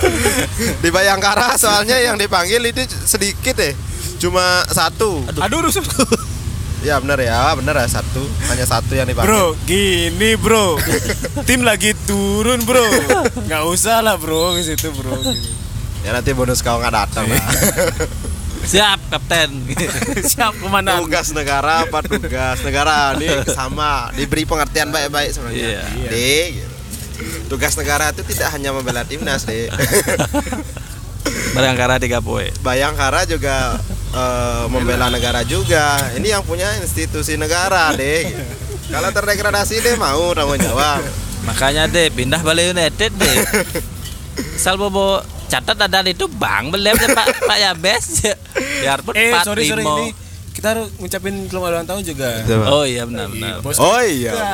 [SPEAKER 2] <laughs> di Bayangkara soalnya yang dipanggil itu sedikit deh cuma satu
[SPEAKER 1] <laughs> Aduh, rusuh.
[SPEAKER 2] ya benar ya benar ya satu hanya satu yang dipanggil
[SPEAKER 1] Bro, gini bro. Tim lagi turun bro. Nggak usah lah bro ke situ bro. Gitu.
[SPEAKER 2] ya nanti bonus kau nggak datang lah.
[SPEAKER 3] Siap,
[SPEAKER 2] <laughs>
[SPEAKER 3] kapten.
[SPEAKER 1] <laughs> Siap kemana?
[SPEAKER 2] tugas negara apa tugas negara ini sama diberi pengertian baik-baik sebenarnya
[SPEAKER 3] Iya.
[SPEAKER 2] Dek, gitu. tugas negara itu tidak hanya membela timnas deh
[SPEAKER 3] Barangkara 3 poin.
[SPEAKER 2] <laughs> Bayangkara juga eh, membela negara juga. Ini yang punya institusi negara, Dek. Kalau terdegradasi deh mau tanggung jawab.
[SPEAKER 3] Makanya deh pindah Bali United <laughs> deh. Sal bobo catat ada itu Bang belum deh Pak Pak ya, Yabes. Biarpun
[SPEAKER 1] Eh,
[SPEAKER 3] Pak
[SPEAKER 1] sorry sorry
[SPEAKER 3] Timo.
[SPEAKER 1] ini kita harus ngucapin selamat ulang tahun juga.
[SPEAKER 3] Oh iya benar benar.
[SPEAKER 1] Bos.
[SPEAKER 2] Oh iya.
[SPEAKER 1] Ya,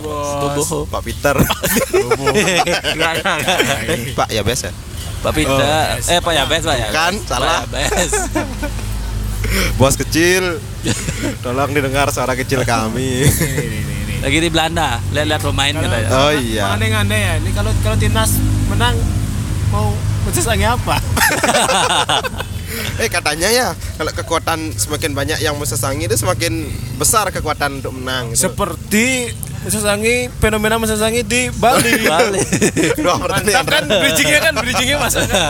[SPEAKER 1] bos.
[SPEAKER 3] Bobo.
[SPEAKER 2] Pak <laughs> Peter.
[SPEAKER 3] Enggak, enggak, enggak.
[SPEAKER 2] Eh, Pak ya biasa.
[SPEAKER 3] Pak Pita, eh Pak Yabes Pak ya, Yabes.
[SPEAKER 2] Kan, salah.
[SPEAKER 3] Pak Yabes.
[SPEAKER 2] Bos kecil. Tolong didengar suara kecil
[SPEAKER 1] Ini,
[SPEAKER 2] kami.
[SPEAKER 1] ini, ini, ini.
[SPEAKER 3] Lagi di Belanda, lihat-lihat ya. pemain katanya.
[SPEAKER 2] Oh iya.
[SPEAKER 1] Aneh-aneh ya. Ini kalau kalau timnas menang mau mencesangi apa?
[SPEAKER 2] Eh katanya ya kalau kekuatan semakin banyak yang sesangi itu semakin besar kekuatan untuk menang. Gitu.
[SPEAKER 1] Seperti mencesangi fenomena mencesangi di Bali.
[SPEAKER 3] Balik.
[SPEAKER 2] <laughs> Dua
[SPEAKER 1] Mantap kan
[SPEAKER 2] pertandingan.
[SPEAKER 1] bridgingnya kan bridgingnya masuknya.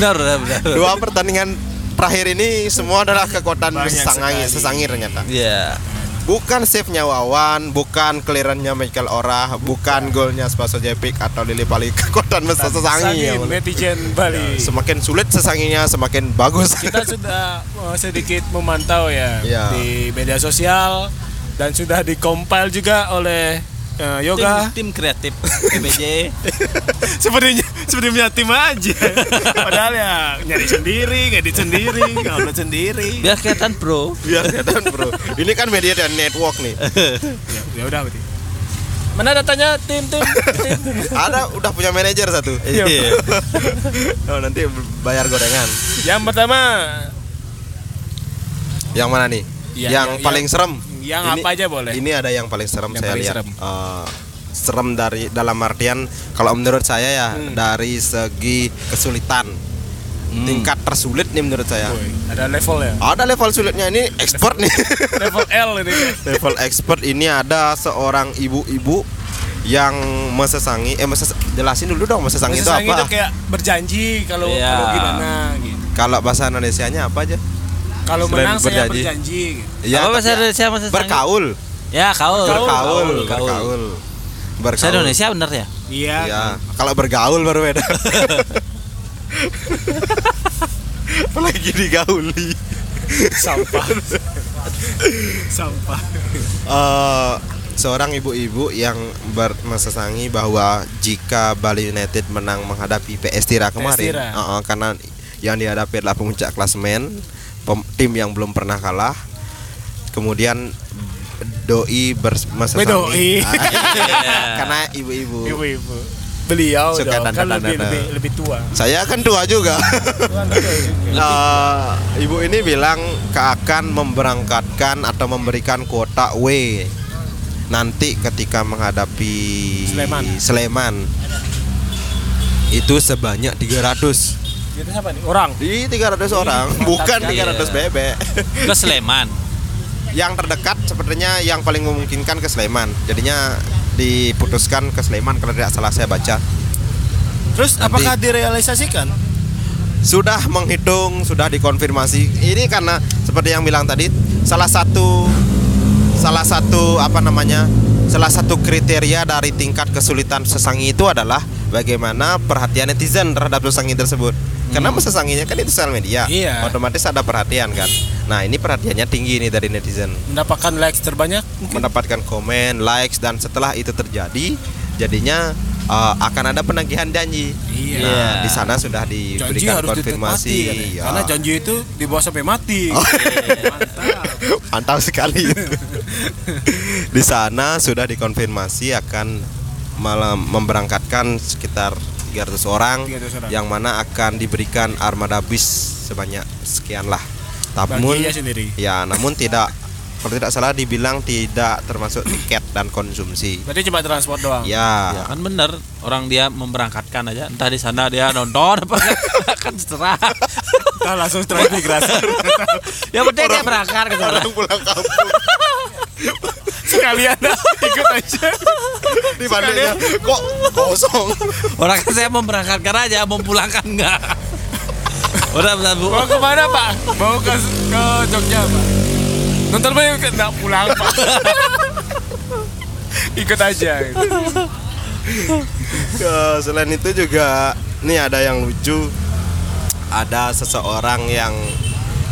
[SPEAKER 3] Benar benar.
[SPEAKER 2] <laughs> Dua pertandingan terakhir ini semua adalah kekuatan
[SPEAKER 1] Banyak
[SPEAKER 2] sesangi,
[SPEAKER 1] sekali.
[SPEAKER 2] sesangi ternyata.
[SPEAKER 3] Iya.
[SPEAKER 2] Bukan save-nya Wawan, bukan clearance-nya Michael Orah, bukan golnya Spaso Jepik atau Lili Pali <laughs> kekuatan besar Sesangi.
[SPEAKER 1] Sesangin,
[SPEAKER 2] ya, Wawan.
[SPEAKER 1] netizen Bali.
[SPEAKER 2] Semakin sulit Sesanginya semakin bagus. <laughs>
[SPEAKER 1] Kita sudah eh, sedikit memantau ya
[SPEAKER 2] Iya.
[SPEAKER 1] di media sosial dan sudah dikompil juga oleh eh,
[SPEAKER 3] Tim,
[SPEAKER 1] Yoga.
[SPEAKER 3] tim kreatif BJ.
[SPEAKER 1] <laughs> sepertinya seperti punya tim aja. Padahal ya nyari sendiri, ngedit sendiri, ngupload sendiri.
[SPEAKER 3] Biar kelihatan pro.
[SPEAKER 2] Iya, Biar kelihatan, Bro. Ini kan media dan network nih.
[SPEAKER 1] Ya, ya udah berarti. Mana datanya tim tim tim.
[SPEAKER 2] Ada udah punya manajer satu.
[SPEAKER 1] Iya.
[SPEAKER 2] oh, nanti bayar gorengan.
[SPEAKER 1] yang pertama
[SPEAKER 2] Yang mana nih?
[SPEAKER 1] Ya,
[SPEAKER 2] yang,
[SPEAKER 1] yang-
[SPEAKER 2] paling serem.
[SPEAKER 1] yang apa aja boleh.
[SPEAKER 2] Ini ada yang paling serem
[SPEAKER 1] Yang
[SPEAKER 2] saya
[SPEAKER 1] paling
[SPEAKER 2] lihat.
[SPEAKER 1] serem.
[SPEAKER 2] Eh, serem dari dalam artian kalau menurut saya ya
[SPEAKER 1] Hmm.
[SPEAKER 2] dari segi kesulitan. Tingkat tersulit nih menurut saya.
[SPEAKER 1] Woi, ada level ya.
[SPEAKER 2] Ada level sulitnya ini expert
[SPEAKER 1] <laughs>
[SPEAKER 2] nih.
[SPEAKER 1] Level L ini.
[SPEAKER 2] level expert ini ada seorang ibu-ibu yang mesesangi eh meses- jelasin dulu dong mesesangi,
[SPEAKER 1] Sesang itu
[SPEAKER 2] itu apa?
[SPEAKER 1] kayak berjanji kalau
[SPEAKER 3] Iya.
[SPEAKER 1] kalau gimana gitu.
[SPEAKER 2] Kalau bahasa Indonesianya apa aja?
[SPEAKER 1] Kalau
[SPEAKER 2] Selain
[SPEAKER 1] menang saya
[SPEAKER 2] berjanji.
[SPEAKER 1] berjanji. gitu.
[SPEAKER 2] Ya,
[SPEAKER 3] apa bahasa
[SPEAKER 2] tapi-
[SPEAKER 3] Indonesia Mas Sasang?
[SPEAKER 2] Berkaul,
[SPEAKER 3] <laughs> Ya, kaul.
[SPEAKER 2] berkaul, berkaul,
[SPEAKER 3] Kaul.
[SPEAKER 2] berkaul.
[SPEAKER 3] Bahasa Indonesia bener ya?
[SPEAKER 1] Iya.
[SPEAKER 2] Iya. Kalau bergaul baru
[SPEAKER 3] <laughs>
[SPEAKER 2] beda. Apalagi digauli.
[SPEAKER 1] Sampah. Sampah.
[SPEAKER 2] Eh, seorang ibu-ibu yang ber- mesesangi bahwa jika Bali United menang menghadapi PS Tira kemarin,
[SPEAKER 1] Tira.
[SPEAKER 2] eh, eh, karena yang dihadapi adalah pemuncak klasemen, pem- tim yang belum pernah kalah. Kemudian doi bers- mesesangi
[SPEAKER 1] Bedoi.
[SPEAKER 2] Ah, <laughs> karena ibu-ibu.
[SPEAKER 1] Ibu-ibu. Beliau
[SPEAKER 2] Suka
[SPEAKER 1] dong, kan lebih,
[SPEAKER 2] dandan-dandan.
[SPEAKER 1] lebih lebih tua.
[SPEAKER 2] Saya kan tua <laughs> juga. Eh, ibu ini bilang ke- akan memberangkatkan atau memberikan kuota W nanti ketika menghadapi
[SPEAKER 1] Sleman.
[SPEAKER 2] Sleman. itu sebanyak 300
[SPEAKER 1] Itu siapa nih? Orang.
[SPEAKER 2] di 300 orang <laughs> Iya. bukan 300 bebek <laughs>
[SPEAKER 3] Ke Sleman.
[SPEAKER 2] yang terdekat sepertinya yang paling memungkinkan ke Sleman jadinya diputuskan ke Sleman kalau tidak salah saya baca
[SPEAKER 1] Terus apakah direalisasikan?
[SPEAKER 2] sudah menghitung, sudah dikonfirmasi. Ini karena seperti yang bilang tadi, salah satu salah satu apa namanya? Salah satu kriteria dari tingkat kesulitan sesangi itu adalah bagaimana perhatian netizen terhadap sesangi tersebut. Karena sesanginya kan itu sosial media,
[SPEAKER 1] Iya.
[SPEAKER 2] otomatis ada perhatian kan. Nah, ini perhatiannya tinggi nih dari netizen
[SPEAKER 1] Mendapatkan likes terbanyak mungkin.
[SPEAKER 2] <laughs> mendapatkan komen, likes dan setelah itu terjadi jadinya uh, akan ada penagihan janji.
[SPEAKER 1] Iya.
[SPEAKER 2] Nah, di sana sudah diberikan
[SPEAKER 1] Janji harus
[SPEAKER 2] konfirmasi. Oh.
[SPEAKER 1] konfirmasi katanya.
[SPEAKER 2] Ya.
[SPEAKER 1] Karena janji itu dibawa sampai mati. Mantap.
[SPEAKER 2] Mantap sekali. itu. di sana sudah dikonfirmasi akan malam memberangkatkan sekitar 300 orang,
[SPEAKER 1] 300 orang.
[SPEAKER 2] yang mana akan diberikan armada bis sebanyak sekian lah. Namun
[SPEAKER 1] Baginya sendiri.
[SPEAKER 2] ya, namun tidak kalau tidak salah dibilang tidak termasuk tiket dan konsumsi.
[SPEAKER 1] Berarti cuma transport doang.
[SPEAKER 2] Ya.
[SPEAKER 3] Ya kan bener orang dia memberangkatkan aja entah di sana dia nonton apa <laughs> kan serah
[SPEAKER 1] Kita langsung transmigrasi.
[SPEAKER 3] yang penting dia berangkat ke sana
[SPEAKER 2] Orang pulang kampung
[SPEAKER 1] Sekalian dah, ikut aja.
[SPEAKER 2] di Bandungnya kok kosong.
[SPEAKER 3] orang <laughs> kan saya memberangkatkan aja mempulangkan enggak udah benar bu
[SPEAKER 1] Mau ke mana, Pak? Mau ke ke Jogja, Pak. Nonton boleh ikut enggak pulang, Pak. ikut aja.
[SPEAKER 2] Ya, selain itu juga nih ada yang lucu. Ada seseorang yang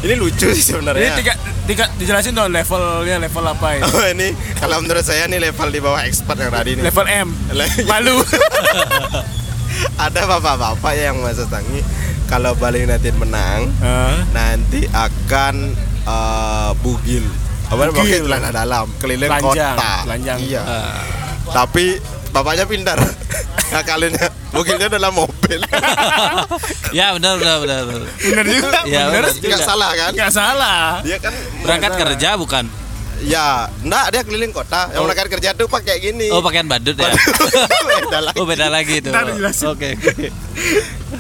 [SPEAKER 2] ini lucu sih
[SPEAKER 1] Ini
[SPEAKER 2] sebenarnya.
[SPEAKER 1] tiga tiga dijelasin dong levelnya level apa ya?
[SPEAKER 2] <laughs> Oh, ini kalau menurut saya nih level di bawah expert yang tadi nih.
[SPEAKER 1] Level M.
[SPEAKER 2] Le-
[SPEAKER 1] Malu.
[SPEAKER 2] ada bapak-bapak yang masuk tangi kalau Bali United menang
[SPEAKER 1] Hah?
[SPEAKER 2] nanti akan eh, bugil. Apa
[SPEAKER 1] Bugil.
[SPEAKER 2] bugil celana dalam keliling
[SPEAKER 1] Telanjang,
[SPEAKER 2] kota.
[SPEAKER 1] telanjang.
[SPEAKER 2] Iya. Tapi bapaknya pintar. <laughs> Ngakalinnya bugilnya dalam
[SPEAKER 1] <laughs>
[SPEAKER 2] mobil.
[SPEAKER 3] ya benar benar benar benar.
[SPEAKER 1] <laughs> Bener juga.
[SPEAKER 3] Iya,
[SPEAKER 1] bener.
[SPEAKER 3] benar.
[SPEAKER 2] Enggak salah kan?
[SPEAKER 1] Enggak salah.
[SPEAKER 2] Dia kan
[SPEAKER 3] berangkat kerja bukan
[SPEAKER 2] ya, enggak dia keliling kota. Yang berangkat kerja tuh pakai gini.
[SPEAKER 3] oh pakaian badut
[SPEAKER 2] <laughs>
[SPEAKER 3] ya
[SPEAKER 2] Beda lagi.
[SPEAKER 3] oh beda lagi tuh
[SPEAKER 1] Ntar dijelasin.
[SPEAKER 3] oke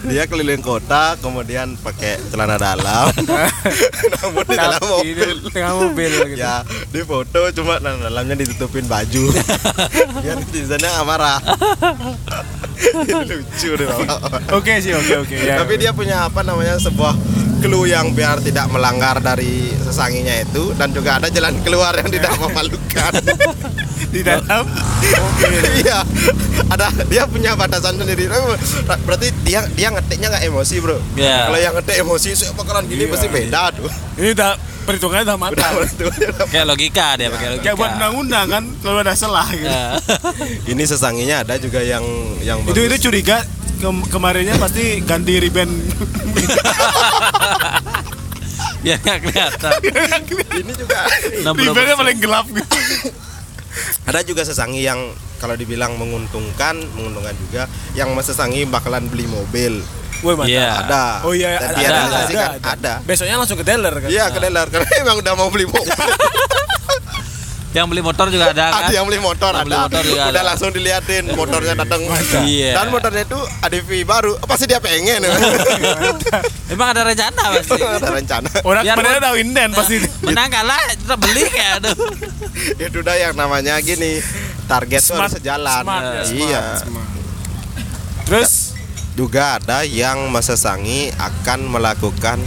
[SPEAKER 2] Dia keliling kota kemudian pakai celana dalam. <laughs> Namun di dalam
[SPEAKER 1] Tapi di
[SPEAKER 2] mobil.
[SPEAKER 1] Tengah mobil gitu.
[SPEAKER 2] Ya, di foto cuma celana dalamnya ditutupin baju. Biar netizennya nggak marah. Lucu deh. Bapak.
[SPEAKER 1] Oke sih, oke oke. Ya.
[SPEAKER 2] Tapi dia punya apa namanya sebuah clue yang biar tidak melanggar dari sesanginya itu dan juga ada jalan keluar yang tidak memalukan.
[SPEAKER 1] di dalam mobil.
[SPEAKER 2] Iya, ada dia punya batasan sendiri. Berarti dia dia ngetiknya nggak emosi bro.
[SPEAKER 3] Iya.
[SPEAKER 2] Kalau yang ngetik emosi saya bakalan gini
[SPEAKER 1] Iya.
[SPEAKER 2] pasti beda tuh.
[SPEAKER 1] Ini udah perhitungannya udah
[SPEAKER 2] Udah Iya.
[SPEAKER 1] matang.
[SPEAKER 2] berarti udah.
[SPEAKER 3] kayak logika dia pakai logika
[SPEAKER 1] Kayak buat undang-undang kan kalau ada salah gitu.
[SPEAKER 2] Iya.
[SPEAKER 3] Ya. <laughs>
[SPEAKER 2] Ini sesanginya ada juga yang yang
[SPEAKER 1] Itu itu
[SPEAKER 2] bagus.
[SPEAKER 1] curiga ke- kemarinnya pasti ganti riben
[SPEAKER 3] ya nggak kelihatan
[SPEAKER 2] ini juga
[SPEAKER 1] <laughs>
[SPEAKER 3] 60%.
[SPEAKER 1] ribennya paling gelap gitu.
[SPEAKER 2] ada juga sesangi yang kalau dibilang menguntungkan menguntungkan juga yang sesangi bakalan beli mobil
[SPEAKER 1] Woi mantap.
[SPEAKER 3] Iya.
[SPEAKER 2] Ya. ada
[SPEAKER 1] Oh iya,
[SPEAKER 2] dan
[SPEAKER 1] ada, ada,
[SPEAKER 2] direalisasikan
[SPEAKER 1] ada,
[SPEAKER 2] ada
[SPEAKER 1] Besoknya langsung ke dealer kan.
[SPEAKER 2] iya ke dealer karena emang udah mau beli mobil <laughs>
[SPEAKER 3] Yang beli motor juga ada kan?
[SPEAKER 2] ada yang beli motor
[SPEAKER 3] Yang
[SPEAKER 2] ada
[SPEAKER 3] beli motor juga
[SPEAKER 2] udah
[SPEAKER 3] ada.
[SPEAKER 2] langsung diliatin motornya datang
[SPEAKER 3] Iya.
[SPEAKER 2] dan motornya itu ADV baru Oh, pasti dia
[SPEAKER 3] <laughs>
[SPEAKER 2] pengen
[SPEAKER 3] Emang ada rencana pasti.
[SPEAKER 2] ada rencana
[SPEAKER 1] Orang
[SPEAKER 3] Biar
[SPEAKER 1] sebenarnya tahu inden pasti.
[SPEAKER 2] Iya.
[SPEAKER 3] Menang kalah tetap beli kayak aduh.
[SPEAKER 2] itu udah yang namanya gini target tuh
[SPEAKER 1] Smart,
[SPEAKER 2] harus sejalan
[SPEAKER 1] smart, ya, smart,
[SPEAKER 2] iya
[SPEAKER 1] smart. Terus
[SPEAKER 2] juga ada yang mesesangi akan melakukan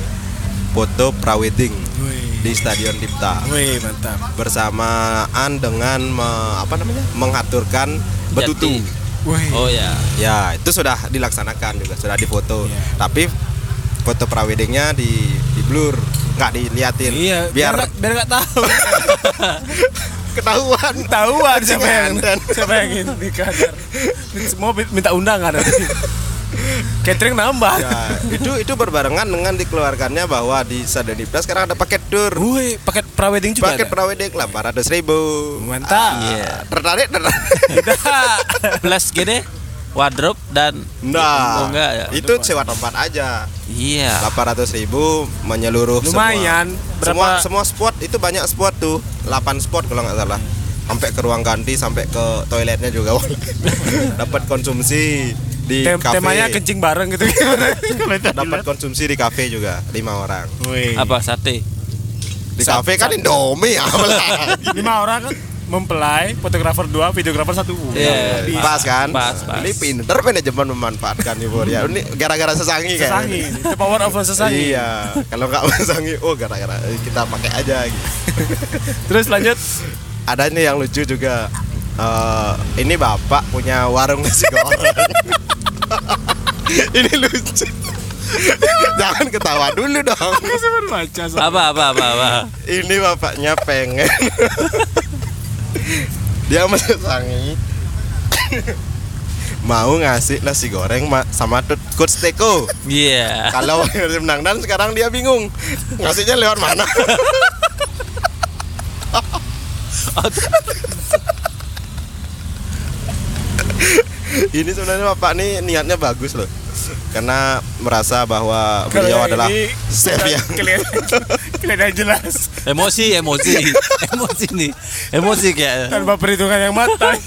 [SPEAKER 2] foto prawedding
[SPEAKER 1] Wih.
[SPEAKER 2] di Stadion Dipta
[SPEAKER 1] Wih, mantap.
[SPEAKER 2] bersamaan dengan me- apa namanya mengaturkan betutu
[SPEAKER 3] Jati.
[SPEAKER 1] Wih.
[SPEAKER 3] Oh ya.
[SPEAKER 2] ya itu sudah dilaksanakan juga sudah difoto
[SPEAKER 1] Iya.
[SPEAKER 2] tapi foto praweddingnya di di blur nggak diliatin
[SPEAKER 1] Iya, biar
[SPEAKER 2] biar
[SPEAKER 1] nggak- biar enggak tahu.
[SPEAKER 2] ketahuan
[SPEAKER 1] <laughs> Ketahuan siapa yang
[SPEAKER 2] Kecingan.
[SPEAKER 1] siapa yang ingin dikadar. Semua bi- minta undangan <laughs> nanti. Catering nambah.
[SPEAKER 2] Ya, itu itu berbarengan dengan dikeluarkannya bahwa di Stadion Dipta sekarang ada paket tour
[SPEAKER 1] Wih, paket prawedding juga.
[SPEAKER 2] paket
[SPEAKER 1] ada?
[SPEAKER 2] prawedding 800 ribu Ah,
[SPEAKER 1] Mantap. Iya. Nah.
[SPEAKER 2] tertarik
[SPEAKER 1] <laughs>
[SPEAKER 2] tertarik
[SPEAKER 3] ah. Plus gini wardrobe dan
[SPEAKER 2] nah
[SPEAKER 3] Oh, enggak ya.
[SPEAKER 2] itu sewa tempat aja
[SPEAKER 3] Iya.
[SPEAKER 2] 800 ribu menyeluruh
[SPEAKER 1] Ya. Lumayan.
[SPEAKER 2] semua
[SPEAKER 1] Berapa-
[SPEAKER 2] semua semua spot itu banyak spot tuh 8 spot kalau nggak salah sampai ke ruang ganti sampai ke toiletnya juga <laughs> dapat konsumsi di
[SPEAKER 1] Tem-
[SPEAKER 2] kafe
[SPEAKER 1] temanya kencing bareng gitu gimana? Kalau itu
[SPEAKER 2] dapat konsumsi di kafe juga lima orang
[SPEAKER 1] Wih.
[SPEAKER 3] Apa sate?
[SPEAKER 2] di kafe kan Indomie
[SPEAKER 1] <laughs>
[SPEAKER 2] apalah
[SPEAKER 1] <laughs> Lima orang kan mempelai, fotografer dua, videografer satu.
[SPEAKER 2] <laughs>
[SPEAKER 3] Iya.
[SPEAKER 1] Di-
[SPEAKER 2] pas kan
[SPEAKER 3] Pas, pas.
[SPEAKER 2] ini pinter manajemen memanfaatkan ibu ya ini gara-gara sesangi kan
[SPEAKER 1] Sesangi, the power of sesangi.
[SPEAKER 2] iya kalau nggak <laughs> sesangi oh gara-gara kita pakai aja gitu
[SPEAKER 1] Terus lanjut.
[SPEAKER 2] ada nih yang lucu juga Eh, ini bapak punya warung nasi goreng <laughs> ini lucu <laughs> jangan ketawa dulu dong
[SPEAKER 1] Aku baru baca. Sob.
[SPEAKER 3] Apa apa apa apa.
[SPEAKER 2] ini bapaknya pengen <laughs> dia mesesangi <laughs> mau ngasih nasi goreng ma- sama tut coach teko
[SPEAKER 3] Iya.
[SPEAKER 1] <laughs>
[SPEAKER 2] kalau Persib menang dan sekarang dia bingung ngasihnya lewat mana <laughs> ini sebenarnya bapak nih niatnya bagus loh karena merasa bahwa
[SPEAKER 1] Kalau
[SPEAKER 2] beliau
[SPEAKER 1] yang
[SPEAKER 2] adalah
[SPEAKER 1] ini,
[SPEAKER 2] chef
[SPEAKER 1] kita-
[SPEAKER 2] ya
[SPEAKER 1] Kelihatan, kelihatan jelas.
[SPEAKER 3] Emosi emosi
[SPEAKER 2] <laughs>
[SPEAKER 3] emosi nih emosi kayak.
[SPEAKER 1] Tanpa perhitungan yang matang.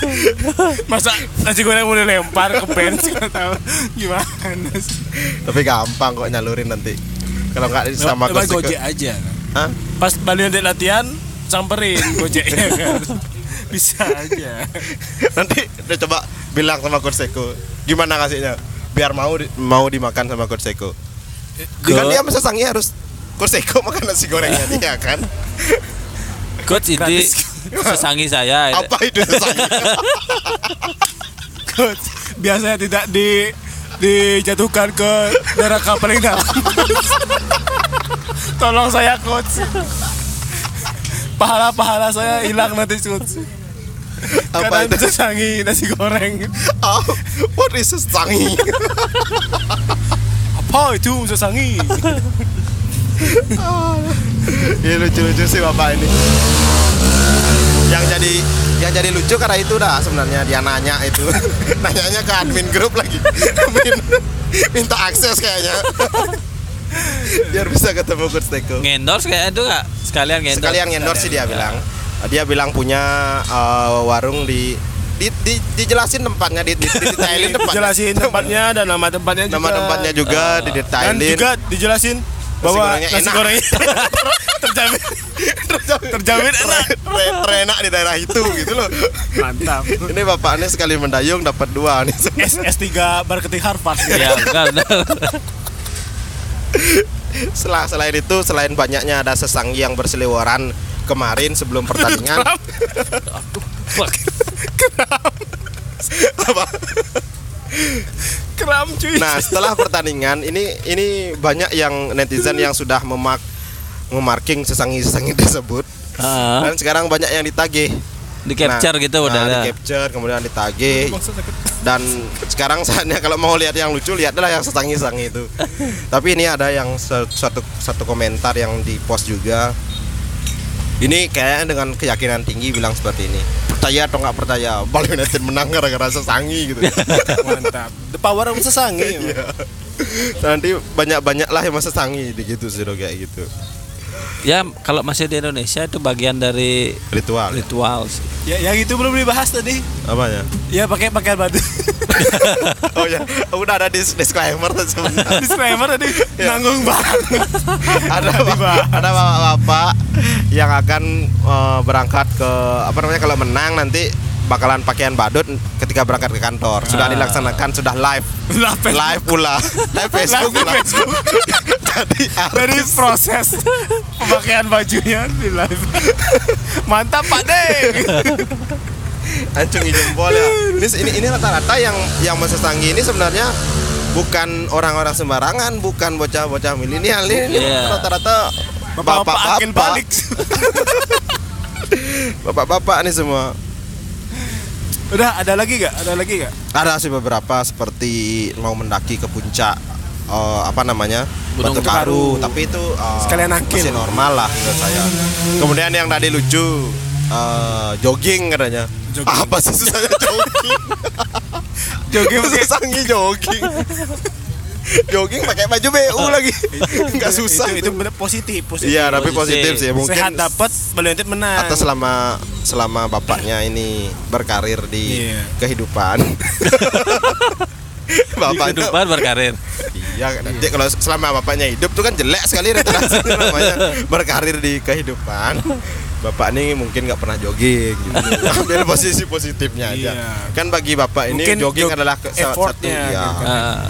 [SPEAKER 1] <laughs> Masa nasi goreng mau dilempar ke bench nggak tahu gimana sih.
[SPEAKER 2] <laughs> tapi gampang kok nyalurin nanti kalau nggak sama
[SPEAKER 1] Coba
[SPEAKER 2] coach Teko.
[SPEAKER 1] gojek aja.
[SPEAKER 2] Hah?
[SPEAKER 1] Pas balik nanti latihan samperin gojeknya kan. <laughs> Bisa aja.
[SPEAKER 2] <laughs> nanti dia coba bilang sama coach Teko, gimana ngasihnya biar mau di- mau dimakan sama coach Teko. Kan dia mesesangi harus Kurseko makan nasi gorengnya dia kan
[SPEAKER 3] Coach ini
[SPEAKER 1] Gratis.
[SPEAKER 3] sesangi saya.
[SPEAKER 2] Apa itu sesangi?
[SPEAKER 1] Coach, biasanya tidak di dijatuhkan ke neraka paling dalam. Tolong saya coach. Pahala-pahala saya hilang nanti coach.
[SPEAKER 2] Apa
[SPEAKER 1] Karena
[SPEAKER 2] itu?
[SPEAKER 1] sesangi nasi goreng.
[SPEAKER 2] <laughs> Oh, what is sesangi?
[SPEAKER 1] Apa itu sesangi?
[SPEAKER 2] ya lucu-lucu sih bapak ini Yang jadi yang jadi lucu karena itu dah sebenarnya dia nanya itu <laughs> Nanyanya ke admin grup lagi <laughs> Admin Minta akses kayaknya <laughs> Biar bisa ketemu Kurseko
[SPEAKER 3] Ngendorse kayak itu nggak? Sekalian ngendorse.
[SPEAKER 2] sekalian endorse sih
[SPEAKER 1] Iya.
[SPEAKER 2] dia bilang dia bilang punya eh, warung di di, di- dijelasin tempatnya di, di,
[SPEAKER 1] <laughs>
[SPEAKER 2] didetailin tempatnya
[SPEAKER 1] Jelasin tempatnya dan nama tempatnya
[SPEAKER 2] nama
[SPEAKER 1] juga.
[SPEAKER 2] tempatnya juga
[SPEAKER 1] Ah.
[SPEAKER 2] didetailin
[SPEAKER 1] Dan
[SPEAKER 2] <laughs>
[SPEAKER 1] juga dijelasin bahwa
[SPEAKER 2] gorengnya
[SPEAKER 1] nasi
[SPEAKER 2] enak.
[SPEAKER 1] gorengnya terjamin terjamin enak.
[SPEAKER 2] Re- terenak di daerah itu gitu loh
[SPEAKER 1] Mantap.
[SPEAKER 2] ini bapaknya sekali mendayung dapat dua nih <laughs>
[SPEAKER 1] S S3 marketing Harvard.
[SPEAKER 3] Iya benar. benar.
[SPEAKER 2] Sel- selain itu selain banyaknya ada sesangi yang berseliweran kemarin
[SPEAKER 1] <laughs>
[SPEAKER 2] sebelum pertandingan
[SPEAKER 3] Fuck.
[SPEAKER 2] Apa?
[SPEAKER 1] Kram cuy.
[SPEAKER 2] Nah setelah pertandingan ini ini banyak yang netizen yang sudah memak memarking sesangi-sesangi tersebut
[SPEAKER 3] <laughs> Ah,
[SPEAKER 2] dan sekarang banyak yang ditagih
[SPEAKER 3] di capture
[SPEAKER 2] Nah,
[SPEAKER 3] gitu
[SPEAKER 2] nah,
[SPEAKER 3] udah. ada.
[SPEAKER 2] di capture kemudian ditagih dan sekarang <laughs> saatnya kalau mau lihat yang lucu lihatlah yang sesangi-sesangi
[SPEAKER 3] <laughs>
[SPEAKER 2] itu tapi ini ada yang se- satu satu komentar yang di post juga Ini kayaknya dengan keyakinan tinggi bilang seperti ini. Percaya atau nggak percaya, <laughs> Bali United menang gara-gara sesangi
[SPEAKER 3] <laughs>
[SPEAKER 2] gitu.
[SPEAKER 1] Mantap. The power of sesangi.
[SPEAKER 2] Nanti banyak-banyak lah yang masa sangi gitu sih dong, kayak gitu.
[SPEAKER 3] ya kalau masih di Indonesia itu bagian dari
[SPEAKER 2] Ritual. ya?
[SPEAKER 3] ritual sih.
[SPEAKER 1] ya, yang itu belum dibahas tadi.
[SPEAKER 3] <laughs>
[SPEAKER 2] Apanya?
[SPEAKER 1] Ya pakai pakaian
[SPEAKER 2] <laughs>
[SPEAKER 1] batu.
[SPEAKER 2] Oh ya, udah ada dis- disclaimer tuh sebenarnya.
[SPEAKER 1] Disclaimer tadi
[SPEAKER 2] Ya.
[SPEAKER 1] nanggung banget.
[SPEAKER 2] Iya. <laughs> ada ba- ada bapak-bapak yang akan eh, berangkat ke apa namanya kalau menang nanti bakalan pakaian badut ketika berangkat ke kantor
[SPEAKER 1] Ah.
[SPEAKER 2] sudah dilaksanakan sudah live
[SPEAKER 1] Lah, pes-
[SPEAKER 2] live
[SPEAKER 1] <laughs>
[SPEAKER 2] pula live Facebook
[SPEAKER 1] Live di
[SPEAKER 2] pula
[SPEAKER 1] Facebook.
[SPEAKER 2] <laughs> jadi ah,
[SPEAKER 1] dari
[SPEAKER 2] artis <laughs>
[SPEAKER 1] proses pemakaian bajunya di live. Mantap Pak Deng.
[SPEAKER 2] ancungi jempol ya ini ini, ini rata-rata yang yang mesesangi ini sebenarnya bukan orang-orang sembarangan bukan bocah-bocah milenial ini
[SPEAKER 3] Iya.
[SPEAKER 2] rata-rata
[SPEAKER 1] Bapak-bapak akil balik.
[SPEAKER 2] bapak-bapak nih semua
[SPEAKER 1] Udah ada lagi gak? Ada lagi gak?
[SPEAKER 2] ada sih beberapa seperti mau mendaki ke puncak eh, apa namanya Batu
[SPEAKER 3] Gunung
[SPEAKER 1] Karu.
[SPEAKER 2] Karu tapi itu eh,
[SPEAKER 1] Sekalian angkil.
[SPEAKER 2] masih normal lah menurut saya kemudian yang tadi lucu eh, jogging katanya
[SPEAKER 1] Jogging.
[SPEAKER 2] apa sih
[SPEAKER 1] <laughs>
[SPEAKER 2] susahnya jogging
[SPEAKER 1] Joget pakai
[SPEAKER 2] susahnya jogging
[SPEAKER 1] <laughs>
[SPEAKER 2] jogging pakai baju BU lagi nggak
[SPEAKER 1] Ah,
[SPEAKER 2] susah
[SPEAKER 1] itu, itu bener positif, positif.
[SPEAKER 2] iya tapi
[SPEAKER 3] Positif.
[SPEAKER 2] positif sih mungkin
[SPEAKER 1] Sehat dapat, Bali United menang.
[SPEAKER 2] atau selama selama bapaknya ini berkarir di
[SPEAKER 1] Iya. <laughs>
[SPEAKER 2] kehidupan bapaknya
[SPEAKER 3] kehidupan <laughs> berkarir
[SPEAKER 2] Iya, nanti kalau selama bapaknya hidup tuh kan jelek sekali
[SPEAKER 1] <laughs>
[SPEAKER 2] reputasinya namanya berkarir di kehidupan. Bapak ini mungkin nggak pernah jogging gitu. Ambil posisi positifnya aja.
[SPEAKER 1] Iya.
[SPEAKER 2] Kan bagi bapak ini
[SPEAKER 1] Mungkin
[SPEAKER 2] jogging
[SPEAKER 1] jog-
[SPEAKER 2] adalah ke- salah satu
[SPEAKER 1] effortnya
[SPEAKER 2] ya.
[SPEAKER 1] gitu.
[SPEAKER 3] Ah,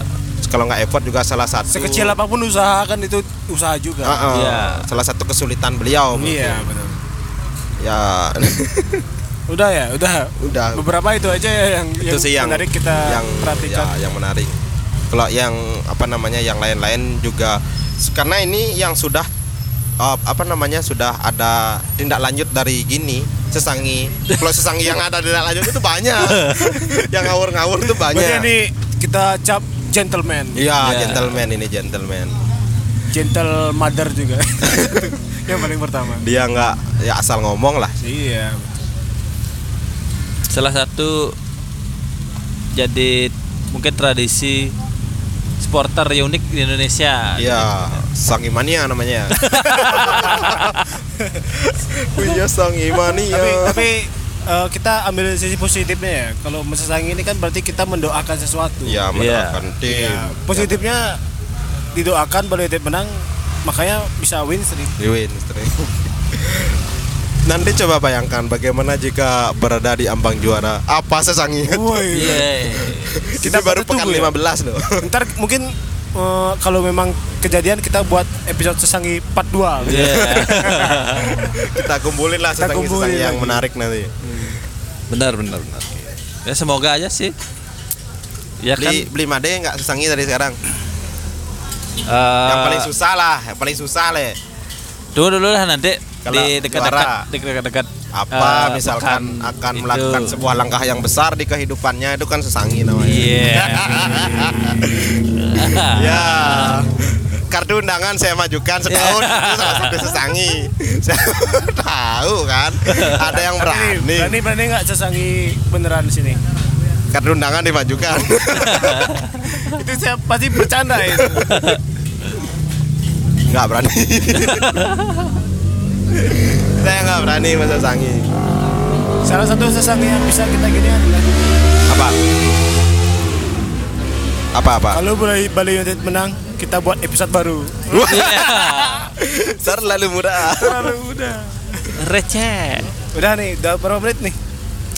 [SPEAKER 2] Kalau nggak effort juga salah satu
[SPEAKER 1] Sekecil apapun usaha kan itu usaha juga.
[SPEAKER 2] Heeh,
[SPEAKER 3] Iya.
[SPEAKER 2] salah satu kesulitan beliau. mungkin.
[SPEAKER 1] Iya, benar.
[SPEAKER 2] Ya. <laughs>
[SPEAKER 1] Udah ya, udah.
[SPEAKER 2] Udah.
[SPEAKER 1] Beberapa itu aja ya yang,
[SPEAKER 2] itu sih yang
[SPEAKER 1] menarik kita
[SPEAKER 2] yang
[SPEAKER 1] perhatikan.
[SPEAKER 2] ya, yang menarik kalau yang apa namanya yang lain-lain juga s- karena ini yang sudah eh, apa namanya sudah ada tindak lanjut dari gini sesangi kalau sesangi yang ada tindak lanjut itu
[SPEAKER 1] <laughs>
[SPEAKER 2] banyak yang ngawur-ngawur itu
[SPEAKER 1] Berarti
[SPEAKER 2] banyak
[SPEAKER 1] ini kita cap gentleman,
[SPEAKER 2] ya. iya
[SPEAKER 3] Ya.
[SPEAKER 2] gentleman ini gentleman
[SPEAKER 1] gentle mother juga. <laughs> yang paling pertama.
[SPEAKER 2] dia nggak ya asal ngomong lah
[SPEAKER 1] Iya.
[SPEAKER 3] salah satu jadi mungkin tradisi supporter unik di Indonesia
[SPEAKER 2] iya sangi mania
[SPEAKER 1] <laughs>
[SPEAKER 2] namanya punya sangi mania
[SPEAKER 1] Tapi tapi eh, kita ambil sisi positifnya ya. Kalau mesesangi ini kan berarti kita mendoakan sesuatu.
[SPEAKER 2] ya mendoakan tim
[SPEAKER 1] Ya, positifnya didoakan Bali United menang, makanya bisa win streak.
[SPEAKER 2] Liwin Nanti coba bayangkan bagaimana jika berada di ambang juara. Apa sesanginya?
[SPEAKER 1] Woi.
[SPEAKER 3] Yeay.
[SPEAKER 2] Kita
[SPEAKER 1] patut
[SPEAKER 2] baru pekan
[SPEAKER 1] tunggu ya.
[SPEAKER 2] 15 loh. <laughs>
[SPEAKER 1] Ntar mungkin eh, kalau memang kejadian kita buat episode sesangi part 2 gitu.
[SPEAKER 3] iya. Yeah.
[SPEAKER 2] Kita kumpulin lah
[SPEAKER 1] Kita
[SPEAKER 2] sesangi-sesangi
[SPEAKER 1] kumpulin
[SPEAKER 2] yang
[SPEAKER 1] lagi.
[SPEAKER 2] menarik nanti.
[SPEAKER 3] <laughs> benar benar benar ya semoga aja sih ya kan
[SPEAKER 2] Beli beli made nggak sesangi dari sekarang?
[SPEAKER 3] eh,
[SPEAKER 2] yang paling susah lah, yang paling susah leh.
[SPEAKER 3] dulu dulu lah nanti
[SPEAKER 2] Kalau
[SPEAKER 3] di dekat-dekat
[SPEAKER 2] juara.
[SPEAKER 3] di dekat-dekat
[SPEAKER 2] Apa
[SPEAKER 3] eh,
[SPEAKER 2] misalkan
[SPEAKER 3] pekan
[SPEAKER 2] akan
[SPEAKER 3] itu.
[SPEAKER 2] melakukan sebuah langkah yang besar di kehidupannya itu kan sesangi namanya.
[SPEAKER 3] <laughs> Iya.
[SPEAKER 2] Ya. Kartu undangan saya majukan setahun itu salah satu sesangi. Saya <laughs> tahu kan. Ada yang
[SPEAKER 1] Berani, berani berani nggak sesangi beneran di sini.
[SPEAKER 2] kartu undangan dimajukan <laughs>
[SPEAKER 1] itu saya pasti bercanda ya itu.
[SPEAKER 2] nggak berani <laughs> saya nggak berani masa sangi
[SPEAKER 1] Salah satu sesangi yang bisa kita gini adalah
[SPEAKER 2] apa apa apa
[SPEAKER 1] kalau Bali Bali United menang, kita buat episode baru.
[SPEAKER 3] Iya.
[SPEAKER 2] <laughs> terlalu mudah
[SPEAKER 1] Terlalu udah.
[SPEAKER 3] Receh.
[SPEAKER 1] Udah nih, udah berapa menit nih?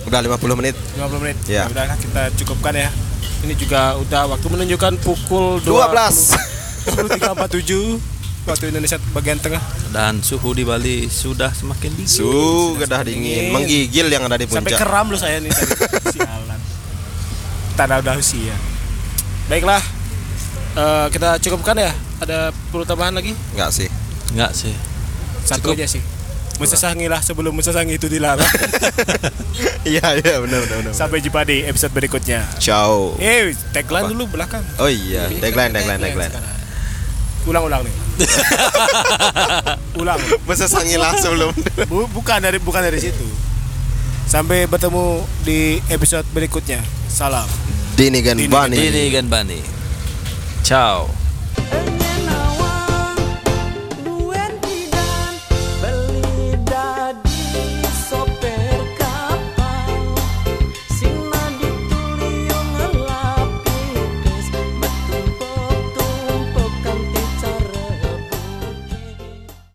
[SPEAKER 2] udah 50 menit
[SPEAKER 1] 50 menit. Ya
[SPEAKER 2] Ya.
[SPEAKER 1] udah kita cukupkan ya. Ini juga udah waktu menunjukkan pukul
[SPEAKER 2] 12
[SPEAKER 1] 23.47 waktu Indonesia bagian tengah.
[SPEAKER 3] Dan suhu di Bali sudah semakin dingin.
[SPEAKER 2] su kedah dingin menggigil yang ada di
[SPEAKER 1] Sampai
[SPEAKER 2] puncak
[SPEAKER 1] keram lu saya nih tadi. Sialan. Tanda udah usia. Baiklah. eh, kita cukupkan ya. Ada perlu tambahan lagi?
[SPEAKER 2] nggak sih
[SPEAKER 3] Enggak sih.
[SPEAKER 1] Satu
[SPEAKER 3] Cukup.
[SPEAKER 1] aja sih. Musasangilah sebelum musasangi itu dilarang.
[SPEAKER 2] iya iya benar benar benar
[SPEAKER 1] Sampai jumpa di episode berikutnya.
[SPEAKER 2] ciao
[SPEAKER 1] Eh, tagline dulu belakang.
[SPEAKER 2] oh iya tagline tagline tagline
[SPEAKER 1] Ulang-ulang nih. Ulang. ulang.
[SPEAKER 2] Mesesangi langsung belum.
[SPEAKER 1] Bu- bukan dari bukan dari situ. Sampai bertemu di episode berikutnya. Salam.
[SPEAKER 2] Dini kan
[SPEAKER 1] Dini-
[SPEAKER 2] Bani.
[SPEAKER 3] Ini Gan Bani. Ciao.